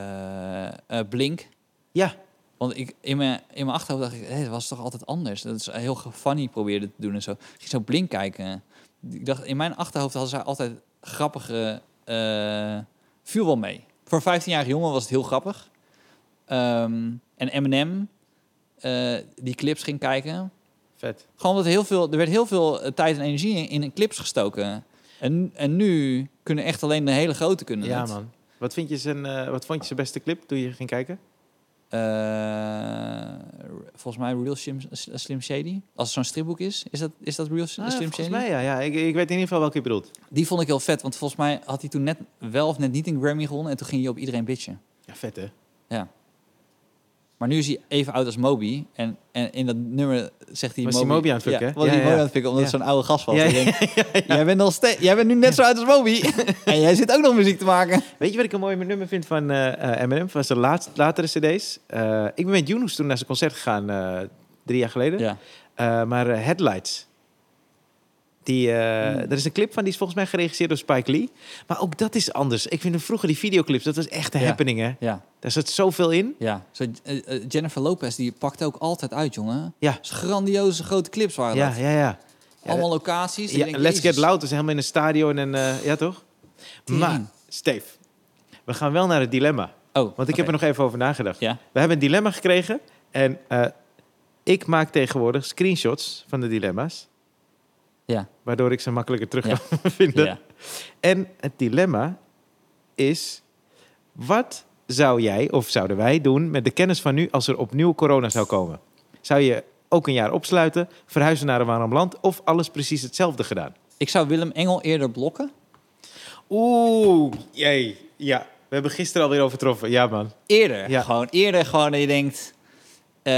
Speaker 2: eh, eh, Blink.
Speaker 1: Ja.
Speaker 2: Want ik, in, mijn, in mijn achterhoofd dacht ik, hé, dat was toch altijd anders. Dat is heel ge- funny probeerde te doen en zo. Ik ging zo blink kijken. Ik dacht, in mijn achterhoofd hadden zij altijd grappige... eh viel wel mee. Voor een 15-jarige jongen was het heel grappig. Ehm, en Eminem, eh, die clips ging kijken.
Speaker 1: Vet.
Speaker 2: Gewoon omdat heel veel, er werd heel veel eh, tijd en energie in, in clips gestoken. En, en nu kunnen echt alleen de hele grote kunnen
Speaker 1: Ja,
Speaker 2: het.
Speaker 1: man. Wat, vind je zijn, eh, wat vond je zijn beste clip toen je ging kijken?
Speaker 2: Eh, volgens mij Real Slim, Slim Shady. Als het zo'n stripboek is, is dat, is dat Real Slim
Speaker 1: Ah,
Speaker 2: Slim
Speaker 1: volgens
Speaker 2: Shady?
Speaker 1: mij, ja. ja. Ik, ik weet in ieder geval welke je bedoelt.
Speaker 2: Die vond ik heel vet, want volgens mij had hij toen net wel of net niet een Grammy gewonnen en toen ging hij op iedereen bitchen.
Speaker 1: Ja, vet, hè?
Speaker 2: Maar nu is hij even oud als Moby en, en in dat nummer zegt hij
Speaker 1: Was hij
Speaker 2: Moby,
Speaker 1: Moby aan het fucken,
Speaker 2: Ja,
Speaker 1: hè?
Speaker 2: was
Speaker 1: Ja,
Speaker 2: hij
Speaker 1: ja,
Speaker 2: Moby
Speaker 1: ja.
Speaker 2: aan het fucken, omdat
Speaker 1: Ja.
Speaker 2: het zo'n oude gast was.
Speaker 1: Ja,
Speaker 2: Ik
Speaker 1: ja,
Speaker 2: denk, Jij, bent nog steeds, jij bent nu net zo oud als Moby en jij zit ook nog muziek te maken.
Speaker 1: Weet je wat ik een mooi nummer vind van eh, eh, Eminem? Van zijn laatst, latere cd's. Eh, ik ben met Yunus toen naar zijn concert gegaan, eh, drie jaar geleden.
Speaker 2: Ja.
Speaker 1: Eh, maar eh, Headlights. Die, eh,
Speaker 2: Hmm.
Speaker 1: Er is een clip van, die is volgens mij geregisseerd door Spike Lee. Maar ook dat is anders. Ik vind hem vroeger die videoclips, dat was echt een
Speaker 2: Ja.
Speaker 1: happening, hè?
Speaker 2: Ja,
Speaker 1: Daar zat zoveel in.
Speaker 2: ja. Zo, eh, eh, Jennifer Lopez die pakt ook altijd uit, jongen.
Speaker 1: Ja.
Speaker 2: Dat is grandioze grote clips waren
Speaker 1: Ja,
Speaker 2: dat.
Speaker 1: ja, ja. Ja,
Speaker 2: Allemaal locaties.
Speaker 1: ja Let's Get Loud dat is helemaal in een stadion en... eh, ja, toch?
Speaker 2: Tering.
Speaker 1: Maar, Steve, we gaan wel naar het dilemma.
Speaker 2: Oh,
Speaker 1: Want ik heb er nog even over nagedacht.
Speaker 2: Ja.
Speaker 1: We hebben een dilemma gekregen. En eh, ik maak tegenwoordig screenshots van de dilemma's.
Speaker 2: Ja.
Speaker 1: Waardoor ik ze makkelijker terug
Speaker 2: Ja.
Speaker 1: kan vinden.
Speaker 2: Ja.
Speaker 1: En het dilemma is... Wat zou jij of zouden wij doen met de kennis van nu... als er opnieuw corona zou komen? Zou je ook een jaar opsluiten, verhuizen naar een warm land... of alles precies hetzelfde gedaan?
Speaker 2: Ik zou Willem Engel eerder blokken.
Speaker 1: Oeh, jee. Ja, we hebben gisteren alweer overtroffen. Ja, man.
Speaker 2: Eerder.
Speaker 1: Ja.
Speaker 2: Gewoon eerder gewoon dat je denkt... eh,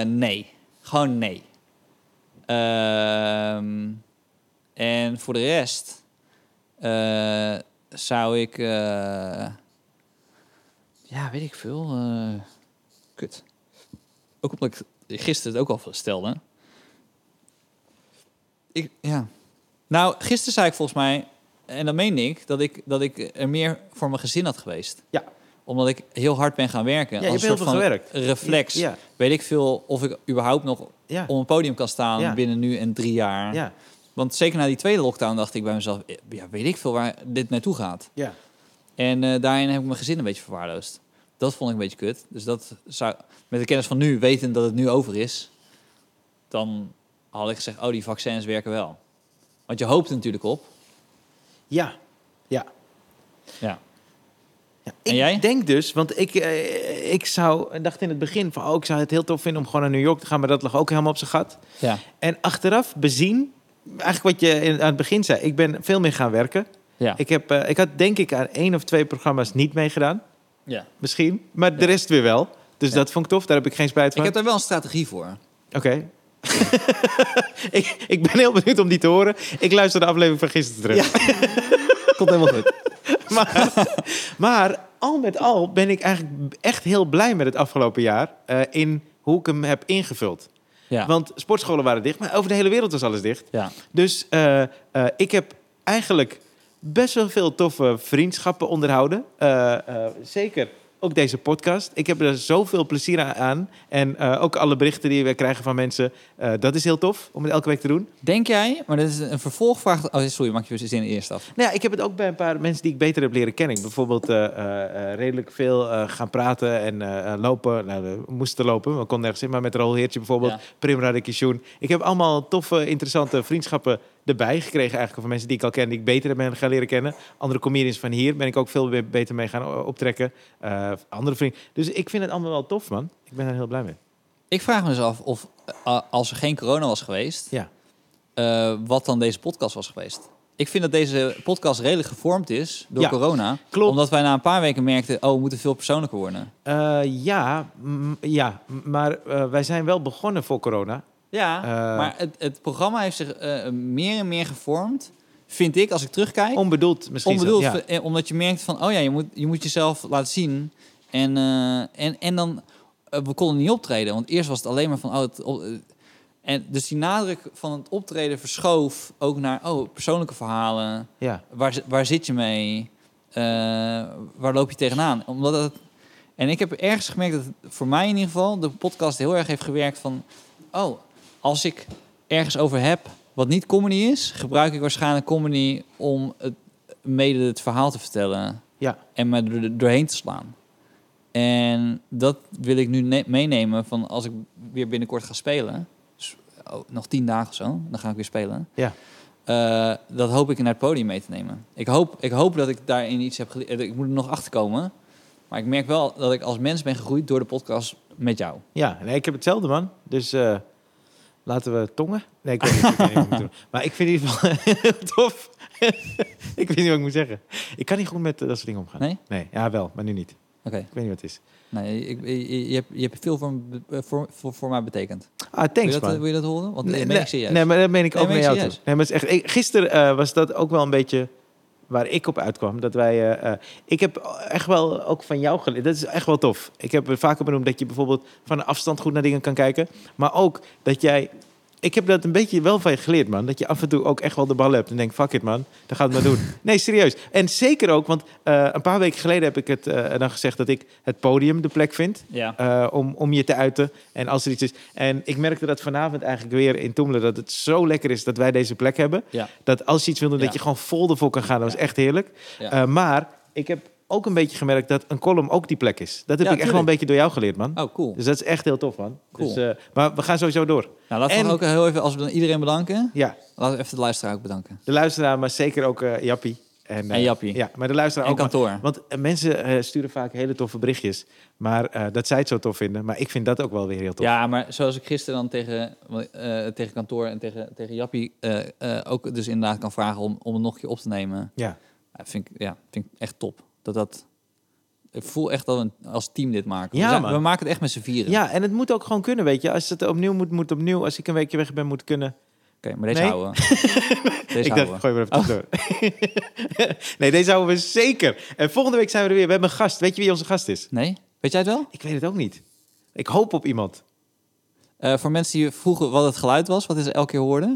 Speaker 2: nee. Gewoon nee. Ehm, en voor de rest... eh, zou ik... eh, ja, weet ik veel. eh, kut. Ook omdat ik gisteren het ook al stelde. Ik, ja. Nou, gisteren zei ik volgens mij... En dat meen ik, dat ik, dat ik er meer voor mijn gezin had geweest.
Speaker 1: Ja.
Speaker 2: Omdat ik heel hard ben gaan werken.
Speaker 1: Ja, je hebt
Speaker 2: als een
Speaker 1: heel
Speaker 2: soort
Speaker 1: veel
Speaker 2: van
Speaker 1: gewerkt.
Speaker 2: reflex.
Speaker 1: Ja,
Speaker 2: Weet ik veel of ik überhaupt nog
Speaker 1: ja,
Speaker 2: op een podium kan staan
Speaker 1: Ja.
Speaker 2: binnen nu en drie jaar.
Speaker 1: ja.
Speaker 2: Want zeker na die tweede lockdown dacht ik bij mezelf... Ja, weet ik veel waar dit naartoe gaat.
Speaker 1: ja.
Speaker 2: En eh, daarin heb ik mijn gezin een beetje verwaarloosd. Dat vond ik een beetje kut. Dus dat zou... Met de kennis van nu, weten dat het nu over is... Dan had ik gezegd, oh, die vaccins werken wel. Want je hoopt er natuurlijk op.
Speaker 1: Ja. Ja.
Speaker 2: Ja.
Speaker 1: Ja, ik
Speaker 2: En jij?
Speaker 1: denk dus, want ik, eh, ik zou, ik dacht in het begin van, oh, ik zou het heel tof vinden om gewoon naar New York te gaan, maar dat lag ook helemaal op zijn gat.
Speaker 2: Ja.
Speaker 1: En achteraf bezien, eigenlijk wat je in- aan het begin zei, ik ben veel meer gaan werken.
Speaker 2: Ja.
Speaker 1: Ik, heb, eh, ik had denk ik aan één of twee programma's niet meegedaan,
Speaker 2: ja.
Speaker 1: misschien, maar de rest weer wel. Dus
Speaker 2: Ja.
Speaker 1: dat vond ik tof, daar heb ik geen spijt
Speaker 2: Ik
Speaker 1: van.
Speaker 2: heb daar wel een strategie voor.
Speaker 1: Oké. ik, ik ben heel benieuwd om die te horen. Ik luister de aflevering van gisteren terug.
Speaker 2: Komt helemaal goed.
Speaker 1: maar, maar al met al ben ik eigenlijk echt heel blij met het afgelopen jaar eh, in hoe ik hem heb ingevuld.
Speaker 2: Ja.
Speaker 1: Want sportscholen waren dicht, maar over de hele wereld was alles dicht.
Speaker 2: ja.
Speaker 1: Dus eh, eh, ik heb eigenlijk best wel veel toffe vriendschappen onderhouden. Eh, eh, zeker Ook deze podcast. Ik heb er zoveel plezier aan- aan. En eh, ook alle berichten die we krijgen van mensen. eh, dat is heel tof om het elke week te doen.
Speaker 2: Denk jij, maar dat is een vervolgvraag. Oh, sorry, maak je zin eerst af.
Speaker 1: Nou ja, ik heb het ook bij een paar mensen die ik beter heb leren kennen. Ik ben Bijvoorbeeld eh, eh, eh, redelijk veel eh, gaan praten en eh, eh, lopen. Nou, we moesten lopen, we konden nergens in. Maar met Rolheertje bijvoorbeeld,
Speaker 2: Ja.
Speaker 1: Primra de Kishoen. Ik heb allemaal toffe, interessante vriendschappen erbij gekregen eigenlijk. Van mensen die ik al ken, die ik beter ben gaan leren kennen. Andere comedians van hier ben ik ook veel be- beter mee gaan o- optrekken. Eh, andere vrienden. Dus ik vind het allemaal wel tof, man. Ik ben er heel blij mee.
Speaker 2: Ik vraag me dus af of eh, als er geen corona was geweest,
Speaker 1: Ja.
Speaker 2: eh, wat dan deze podcast was geweest. Ik vind dat deze podcast redelijk gevormd is door
Speaker 1: Ja,
Speaker 2: corona.
Speaker 1: klopt.
Speaker 2: Omdat wij na een paar weken merkten, oh, we moeten veel persoonlijker worden.
Speaker 1: Eh, ja, mm, ja, m- maar eh, wij zijn wel begonnen voor corona.
Speaker 2: Ja,
Speaker 1: Eh.
Speaker 2: maar het, het programma heeft zich eh, meer en meer gevormd, vind ik, als ik terugkijk.
Speaker 1: Onbedoeld misschien. zelfs,
Speaker 2: Onbedoeld,
Speaker 1: ja.
Speaker 2: v- eh, omdat je merkt van, oh ja, je moet, je moet jezelf laten zien. En, eh, en, en dan, eh, we konden niet optreden. Want eerst was het alleen maar van, oh, het, op- eh, en dus die nadruk van het optreden verschoof ook naar, oh, persoonlijke verhalen.
Speaker 1: ja.
Speaker 2: Waar, zi- waar zit je mee? Eh, waar loop je tegenaan? Omdat het, en ik heb ergens gemerkt dat het voor mij in ieder geval de podcast heel erg heeft gewerkt van... Oh, als ik ergens over heb wat niet comedy is... gebruik ik waarschijnlijk comedy om het, mede het verhaal te vertellen.
Speaker 1: Ja.
Speaker 2: En me er er doorheen te slaan. En dat wil ik nu ne- meenemen van als ik weer binnenkort ga spelen. Dus, oh, nog tien dagen of zo, dan ga ik weer spelen.
Speaker 1: Ja.
Speaker 2: Eh, dat hoop ik naar het podium mee te nemen. Ik hoop, ik hoop dat ik daarin iets heb geleerd. Ik moet er nog achter komen. Maar ik merk wel dat ik als mens ben gegroeid door de podcast met jou.
Speaker 1: Ja, nee, ik heb hetzelfde, man. Dus eh, laten we tongen. Nee, ik weet niet, ik weet niet wat ik moet doen. Maar ik vind het in ieder geval heel tof. ik weet niet wat ik moet zeggen. Ik kan niet goed met eh, dat soort dingen omgaan.
Speaker 2: Nee?
Speaker 1: ja, wel, maar nu niet.
Speaker 2: Oké.
Speaker 1: Ik weet niet wat het is.
Speaker 2: Nee, ik, je, je, hebt, je hebt veel voor, me be- eh, voor, voor, voor mij betekend.
Speaker 1: Ah,
Speaker 2: wil,
Speaker 1: thanks,
Speaker 2: je dat,
Speaker 1: man.
Speaker 2: wil je dat horen? Want nee,
Speaker 1: nee,
Speaker 2: ik serieus.
Speaker 1: nee, maar dat meen ik
Speaker 2: Nee,
Speaker 1: ook
Speaker 2: meen
Speaker 1: met
Speaker 2: ik
Speaker 1: jou toe.
Speaker 2: serieus.
Speaker 1: Nee, maar het is echt, ik- gisteren eh, was dat ook wel een beetje waar ik op uitkwam. Dat wij, eh, eh, ik heb echt wel ook van jou geleerd. Dat is echt wel tof. Ik heb er vaker benoemd dat je bijvoorbeeld van een afstand goed naar dingen kan kijken. Maar ook dat jij... Ik heb dat een beetje wel van je geleerd, man. Dat je af en toe ook echt wel de bal hebt. En denkt, fuck it, man. Dan gaat het maar doen. Nee, serieus. En zeker ook, want eh, een paar weken geleden heb ik het eh, dan gezegd... dat ik het podium de plek vind.
Speaker 2: Ja.
Speaker 1: Eh, om, om je te uiten. En als er iets is. En ik merkte dat vanavond eigenlijk weer in Toemelen dat het zo lekker is dat wij deze plek hebben.
Speaker 2: Ja.
Speaker 1: Dat als je iets wil doen,
Speaker 2: Ja.
Speaker 1: dat je gewoon vol ervoor kan gaan. Dat was echt heerlijk.
Speaker 2: Ja.
Speaker 1: Eh, maar ik heb ook een beetje gemerkt dat een column ook die plek is. Dat heb
Speaker 2: Ja,
Speaker 1: ik echt wel een beetje door jou geleerd, man.
Speaker 2: Oh, cool.
Speaker 1: Dus dat is echt heel tof, man.
Speaker 2: Cool.
Speaker 1: Dus, eh, maar we gaan sowieso door.
Speaker 2: Nou, laten we
Speaker 1: en-
Speaker 2: ook heel even, als we dan iedereen bedanken,
Speaker 1: Ja,
Speaker 2: laten we even de luisteraar ook bedanken.
Speaker 1: de luisteraar, maar zeker ook eh, Jappie. En, eh,
Speaker 2: En Jappie.
Speaker 1: Ja, maar de luisteraar
Speaker 2: En
Speaker 1: ook. man.
Speaker 2: kantoor.
Speaker 1: Want eh, mensen eh, sturen vaak hele toffe berichtjes. Maar eh, dat zij het zo tof vinden. Maar ik vind dat ook wel weer heel tof.
Speaker 2: Ja, maar zoals ik gisteren dan tegen, eh, tegen kantoor en tegen, tegen Jappie eh, eh, ook dus inderdaad kan vragen om, om het nog een keer op te nemen.
Speaker 1: ja.
Speaker 2: Ja, vind ik, ja, vind ik echt top. Dat dat... Ik voel echt dat we een- als team dit maken.
Speaker 1: Ja,
Speaker 2: we, zijn-
Speaker 1: man.
Speaker 2: we maken het echt met z'n vieren.
Speaker 1: Ja, en het moet ook gewoon kunnen, weet je. Als het opnieuw moet, moet opnieuw. Als ik een weekje weg ben, moet kunnen.
Speaker 2: Oké, maar deze
Speaker 1: Nee.
Speaker 2: houden we. deze
Speaker 1: ik dacht,
Speaker 2: houden
Speaker 1: ik
Speaker 2: we.
Speaker 1: gooi maar even door. Oh. nee, deze houden we zeker. En volgende week zijn we er weer. We hebben een gast. Weet je wie onze gast is?
Speaker 2: Nee? Weet jij het wel?
Speaker 1: Ik weet het ook niet. Ik hoop op iemand.
Speaker 2: Eh, voor mensen die vroegen wat het geluid was, wat is er elke keer hoorden?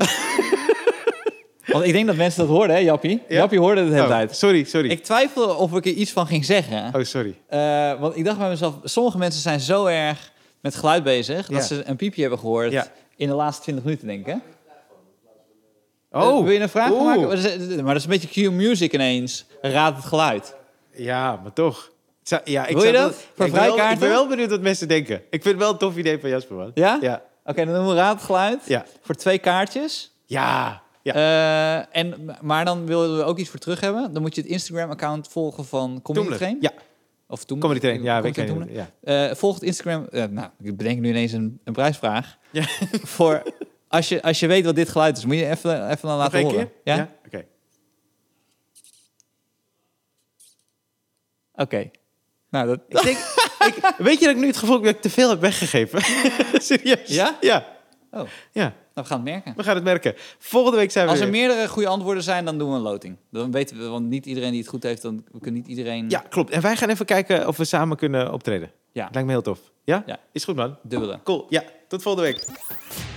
Speaker 2: Want ik denk dat mensen dat hoorden, hè, Jappie?
Speaker 1: Ja.
Speaker 2: Jappie hoorde het de hele
Speaker 1: Oh,
Speaker 2: tijd.
Speaker 1: sorry, sorry.
Speaker 2: Ik twijfelde of ik er iets van ging zeggen.
Speaker 1: Oh, sorry.
Speaker 2: Eh, want ik dacht bij mezelf, sommige mensen zijn zo erg met geluid bezig...
Speaker 1: Ja.
Speaker 2: dat ze een piepje hebben gehoord
Speaker 1: Ja.
Speaker 2: in de laatste 20 minuten, denk ik. hè?
Speaker 1: Oh,
Speaker 2: Eh, wil je een vraag
Speaker 1: oeh.
Speaker 2: maken? Maar dat is- maar dat is een beetje Q-music ineens. Raad het geluid.
Speaker 1: Ja, maar toch. Het zou- Ja, ik
Speaker 2: Wil
Speaker 1: zou
Speaker 2: je dat?
Speaker 1: wel-
Speaker 2: Voor
Speaker 1: ik, ben wel, ik
Speaker 2: vrijkaarten?
Speaker 1: ben wel benieuwd wat mensen denken. Ik vind het wel een tof idee van Jasper, man.
Speaker 2: Ja?
Speaker 1: Ja.
Speaker 2: Oké, dan doen we raad het geluid
Speaker 1: Ja.
Speaker 2: voor twee kaartjes.
Speaker 1: Ja. ja.
Speaker 2: Eh, en, maar dan wilden we ook iets voor terug hebben. Dan moet je het Instagram-account volgen van Comedy
Speaker 1: Toemler.
Speaker 2: Train.
Speaker 1: Ja,
Speaker 2: Of Toemler.
Speaker 1: comedy train. Ja, weet
Speaker 2: Comedy
Speaker 1: ik
Speaker 2: Train
Speaker 1: niet. Ja.
Speaker 2: Toemler. Eh, volg het Instagram... eh, nou, ik bedenk nu ineens een, een prijsvraag.
Speaker 1: Ja.
Speaker 2: voor als je, als je weet wat dit geluid is, moet je even, even dan
Speaker 1: Nog
Speaker 2: laten
Speaker 1: één
Speaker 2: horen.
Speaker 1: keer?
Speaker 2: Ja?
Speaker 1: Oké.
Speaker 2: Oké. Nou, dat...
Speaker 1: Ik denk, ik, weet je dat ik nu het gevoel heb dat ik te veel heb weggegeven? Serieus?
Speaker 2: Ja?
Speaker 1: Ja.
Speaker 2: Oh, nou,
Speaker 1: Ja,
Speaker 2: we gaan het merken.
Speaker 1: we gaan het merken. Volgende week zijn we
Speaker 2: Als er
Speaker 1: weer.
Speaker 2: meerdere goede antwoorden zijn, dan doen we een loting. Dan weten we, want niet iedereen die het goed heeft, dan we kunnen niet iedereen
Speaker 1: Ja, klopt. En wij gaan even kijken of we samen kunnen optreden.
Speaker 2: Ja.
Speaker 1: Lijkt me heel tof. Ja?
Speaker 2: Ja.
Speaker 1: Is goed, man.
Speaker 2: dubbelen.
Speaker 1: Cool. Ja, tot volgende week.